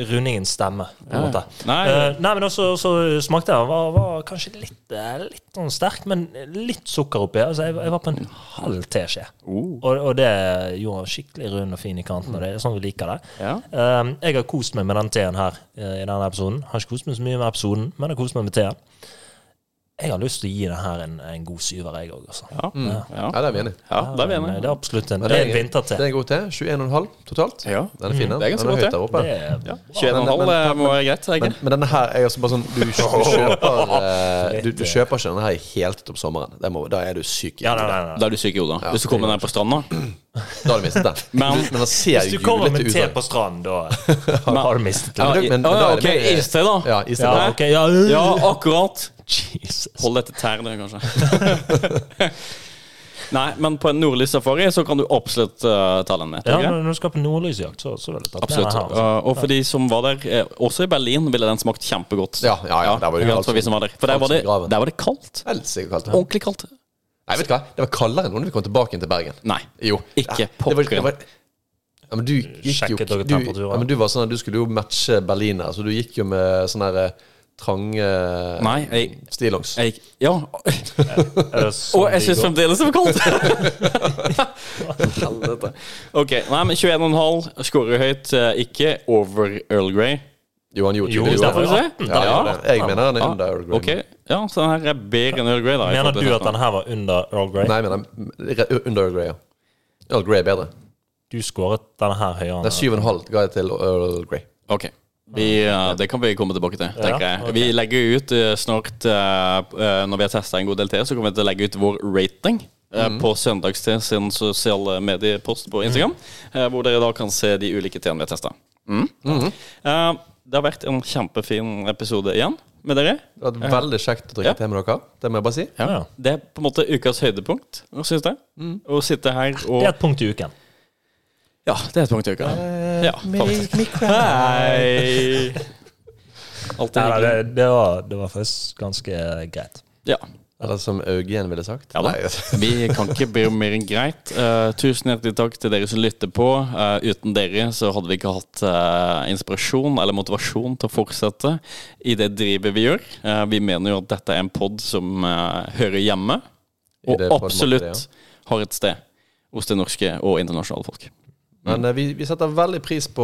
[SPEAKER 2] rundingens stemme, på en måte.
[SPEAKER 3] Nei.
[SPEAKER 2] Eh, nei men også så smakte jeg var, var kanskje litt, eh, litt sånn sterk, men litt sukker oppi. Altså, jeg, jeg var på en halv teskje. Og, og det gjorde han skikkelig rund og fin i kanten, og det er sånn vi liker det.
[SPEAKER 3] Ja.
[SPEAKER 2] Um, jeg har kost meg med den teen her eh, i denne episoden. Har ikke kost meg så mye med episoden, men jeg har kost meg med teen. Jeg har lyst til å gi den her en, en god syver, jeg òg, altså.
[SPEAKER 3] Ja.
[SPEAKER 1] Ja, det er vi enig i.
[SPEAKER 3] Ja, det er vi
[SPEAKER 2] Men, eh,
[SPEAKER 3] enige.
[SPEAKER 2] Det er absolutt en,
[SPEAKER 1] Men
[SPEAKER 2] det er en
[SPEAKER 1] Det
[SPEAKER 2] vinterte.
[SPEAKER 1] er en god te. 21,5 totalt.
[SPEAKER 3] Ja. Mm.
[SPEAKER 1] Den er fin, den.
[SPEAKER 3] Det er ganske
[SPEAKER 1] den
[SPEAKER 3] godt,
[SPEAKER 1] høyt
[SPEAKER 3] det.
[SPEAKER 1] der oppe.
[SPEAKER 2] Det er
[SPEAKER 3] Ja. 21,5 eh, må være greit, er det
[SPEAKER 1] Men,
[SPEAKER 3] ikke?
[SPEAKER 1] men denne her er altså bare sånn Du,
[SPEAKER 3] [LAUGHS]
[SPEAKER 1] du kjøper eh, du, du kjøper ikke denne her helt om sommeren. Det må, da er du syk. i
[SPEAKER 2] Ja, nei,
[SPEAKER 1] hodet.
[SPEAKER 2] nei, nei.
[SPEAKER 3] Da er du syk i hodet. Hvis du kommer ned på stranda
[SPEAKER 1] Da har du mistet den.
[SPEAKER 3] [LAUGHS] Men-
[SPEAKER 1] Men, den ser
[SPEAKER 2] Hvis du kommer med
[SPEAKER 1] julete ut,
[SPEAKER 2] te
[SPEAKER 1] da.
[SPEAKER 2] på stranden,
[SPEAKER 1] [LAUGHS]
[SPEAKER 2] da har du mistet det.
[SPEAKER 1] Ja, men- men
[SPEAKER 3] Å, ja,
[SPEAKER 1] da er
[SPEAKER 3] ok,
[SPEAKER 1] det mer-
[SPEAKER 3] iste, da.
[SPEAKER 1] Ja, iste,
[SPEAKER 2] Ja,
[SPEAKER 1] da.
[SPEAKER 2] ok, ja.
[SPEAKER 3] Ja, akkurat.
[SPEAKER 2] Jesus.
[SPEAKER 3] Hold deg til tærne, kanskje. [LAUGHS] Nei, men på en nordlig safari så kan du absolutt eh, ta den med.
[SPEAKER 2] Ja,
[SPEAKER 3] tror jeg.
[SPEAKER 2] men når du skal på nordlysjakt, så, så vil jeg ta
[SPEAKER 3] Absolutt.
[SPEAKER 2] den her.
[SPEAKER 3] Eh, og for de som var der, eh, også i Berlin, ville den smakt kjempegodt.
[SPEAKER 1] Ja, ja, ja, der var det
[SPEAKER 3] ikke
[SPEAKER 1] kaldt
[SPEAKER 3] sant, for, vi som var der. for der
[SPEAKER 1] kaldt
[SPEAKER 3] var det,
[SPEAKER 1] som graven.
[SPEAKER 3] der var det kaldt.
[SPEAKER 1] Helsike kaldt. det.
[SPEAKER 3] Ordentlig kaldt.
[SPEAKER 1] Nei, vet du hva? Det var kaldere enn når vi kom tilbake igjen til Bergen.
[SPEAKER 3] Nei.
[SPEAKER 1] Jo.
[SPEAKER 3] Ikke
[SPEAKER 1] Ja, det
[SPEAKER 3] pokker.
[SPEAKER 1] var- det var- Ja, men du gikk jo
[SPEAKER 2] Sjekket dere
[SPEAKER 1] du,
[SPEAKER 2] temperaturen?
[SPEAKER 1] ja, men du, var sånn, at du skulle jo matche Berliner, så du gikk jo med sånne her, eh, trange eh,
[SPEAKER 3] Nei, jeg-
[SPEAKER 1] stillongs.
[SPEAKER 3] Jeg, gikk- ja.
[SPEAKER 2] Er det sånn
[SPEAKER 3] [LAUGHS] Og
[SPEAKER 2] de
[SPEAKER 3] jeg syns
[SPEAKER 2] går?
[SPEAKER 3] fremdeles det var kaldt!
[SPEAKER 2] [LAUGHS]
[SPEAKER 3] Helvete. [LAUGHS] Ok, nei, men 21,5. Skårer høyt. eh, Ikke over Earl Grey.
[SPEAKER 1] Johan jo,
[SPEAKER 2] Jo,
[SPEAKER 1] tydeligvis.
[SPEAKER 2] det var
[SPEAKER 3] Får vi
[SPEAKER 2] jo
[SPEAKER 3] se?
[SPEAKER 2] 18.
[SPEAKER 1] Ja, ja, det- jeg mener han er
[SPEAKER 3] Ja,
[SPEAKER 1] under Earl Grey.
[SPEAKER 3] Ok, ja, så den her er bedre enn Earl Grey, da. i
[SPEAKER 2] Mener
[SPEAKER 3] forhold til
[SPEAKER 2] du at
[SPEAKER 3] resten.
[SPEAKER 2] den her var under Earl Grey?
[SPEAKER 1] Nei, jeg mener re- under Earl Grey, ja. Earl Grey er bedre.
[SPEAKER 2] Du skåret denne her høyere.
[SPEAKER 1] Det er
[SPEAKER 2] enn-
[SPEAKER 1] 7,5 ga jeg til Earl Grey.
[SPEAKER 3] Ok. Vi, eh, det kan vi komme tilbake til, tenker jeg.
[SPEAKER 2] ok.
[SPEAKER 3] Vi legger ut eh, snart, eh, eh, når vi har testa en god del til, så kommer vi til å legge ut vår rating. eh,
[SPEAKER 2] Mhm.
[SPEAKER 3] På søndagste sin sosiale mediepost på Instagram.
[SPEAKER 2] Mhm.
[SPEAKER 3] eh, Hvor dere da kan se de ulike tingene vi har testa. Mm. Eh, Det har vært en kjempefin episode igjen med dere.
[SPEAKER 1] Det har vært veldig kjekt å drikke
[SPEAKER 3] Ja.
[SPEAKER 1] te med dere. Det må jeg bare si.
[SPEAKER 2] Ja, ja.
[SPEAKER 3] Det er på en måte ukas høydepunkt, syns jeg. Å sitte her
[SPEAKER 2] Ah, Det
[SPEAKER 3] og
[SPEAKER 2] er et punkt i uken.
[SPEAKER 3] Ja, det er et punkt i uka.
[SPEAKER 2] Eh,
[SPEAKER 3] Ja, faktisk.
[SPEAKER 2] [LAUGHS]
[SPEAKER 3] Hei! Alltid
[SPEAKER 2] Nei, nei,
[SPEAKER 3] hyggelig.
[SPEAKER 2] det, det, var, det var faktisk ganske greit.
[SPEAKER 3] Ja.
[SPEAKER 1] Eller som Eugen ville sagt.
[SPEAKER 3] Ja da.
[SPEAKER 1] Nei, altså.
[SPEAKER 3] Vi kan ikke be om mer enn greit. Eh, tusen hjertelig takk til dere som lytter på. Eh, uten dere så hadde vi ikke hatt eh, inspirasjon eller motivasjon til å fortsette i det drivet vi gjør. Eh, vi mener jo at dette er en pod som eh, hører hjemme,
[SPEAKER 1] I
[SPEAKER 3] og
[SPEAKER 1] det formatet,
[SPEAKER 3] absolutt har et sted hos det norske og internasjonale folk.
[SPEAKER 2] Mm.
[SPEAKER 1] Men eh, vi, vi setter veldig pris på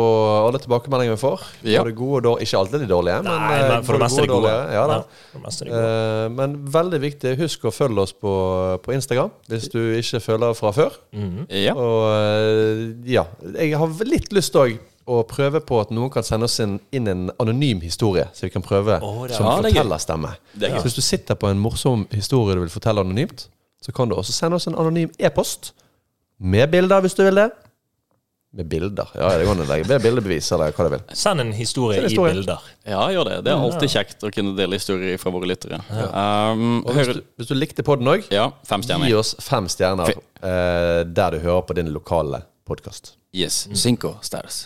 [SPEAKER 1] alle tilbakemeldinger vi får.
[SPEAKER 3] Ja.
[SPEAKER 1] Både gode og dårlige. Ikke alltid de dårlige, men,
[SPEAKER 2] Nei,
[SPEAKER 1] eh,
[SPEAKER 2] men for det
[SPEAKER 1] både
[SPEAKER 2] meste er det
[SPEAKER 1] og
[SPEAKER 2] gode.
[SPEAKER 1] dårlige. Ja, da.
[SPEAKER 2] for det meste er det gode.
[SPEAKER 1] Eh, men veldig viktig, husk å følge oss på, på Instagram hvis du ikke følger fra før.
[SPEAKER 3] Ja.
[SPEAKER 1] Og eh, ja, jeg har litt lyst òg å prøve på at noen kan sende oss inn, inn en anonym historie, så vi kan prøve
[SPEAKER 2] Å, det er-
[SPEAKER 1] som
[SPEAKER 3] Ja, det er gøy.
[SPEAKER 1] fortellerstemme.
[SPEAKER 3] Det er gøy.
[SPEAKER 1] Så hvis du sitter på en morsom historie du vil fortelle anonymt, så kan du også sende oss en anonym e-post med bilder, hvis du vil det. Med bilder. Ja, det går an å legge med bildebevis, eller hva du vil.
[SPEAKER 2] Send en historie
[SPEAKER 1] Send en
[SPEAKER 2] i
[SPEAKER 1] historie.
[SPEAKER 2] bilder.
[SPEAKER 3] ja, gjør det. Det er alltid kjekt å kunne dele historier fra våre lyttere. Um,
[SPEAKER 1] Og hvis
[SPEAKER 3] hører,
[SPEAKER 1] du, hvis du likte podden òg,
[SPEAKER 3] ja, fem
[SPEAKER 1] Gi
[SPEAKER 3] stjerner.
[SPEAKER 1] oss fem stjerner eh, der du hører på din lokale podkast.
[SPEAKER 3] Yes. Cinco stars.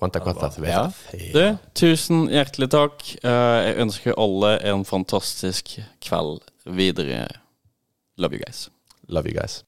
[SPEAKER 1] Quanta quanta, så vet
[SPEAKER 3] Ja.
[SPEAKER 1] jeg.
[SPEAKER 3] Du, tusen hjertelig takk. Eh, Jeg ønsker alle en fantastisk kveld videre. Love you guys.
[SPEAKER 1] Love you guys.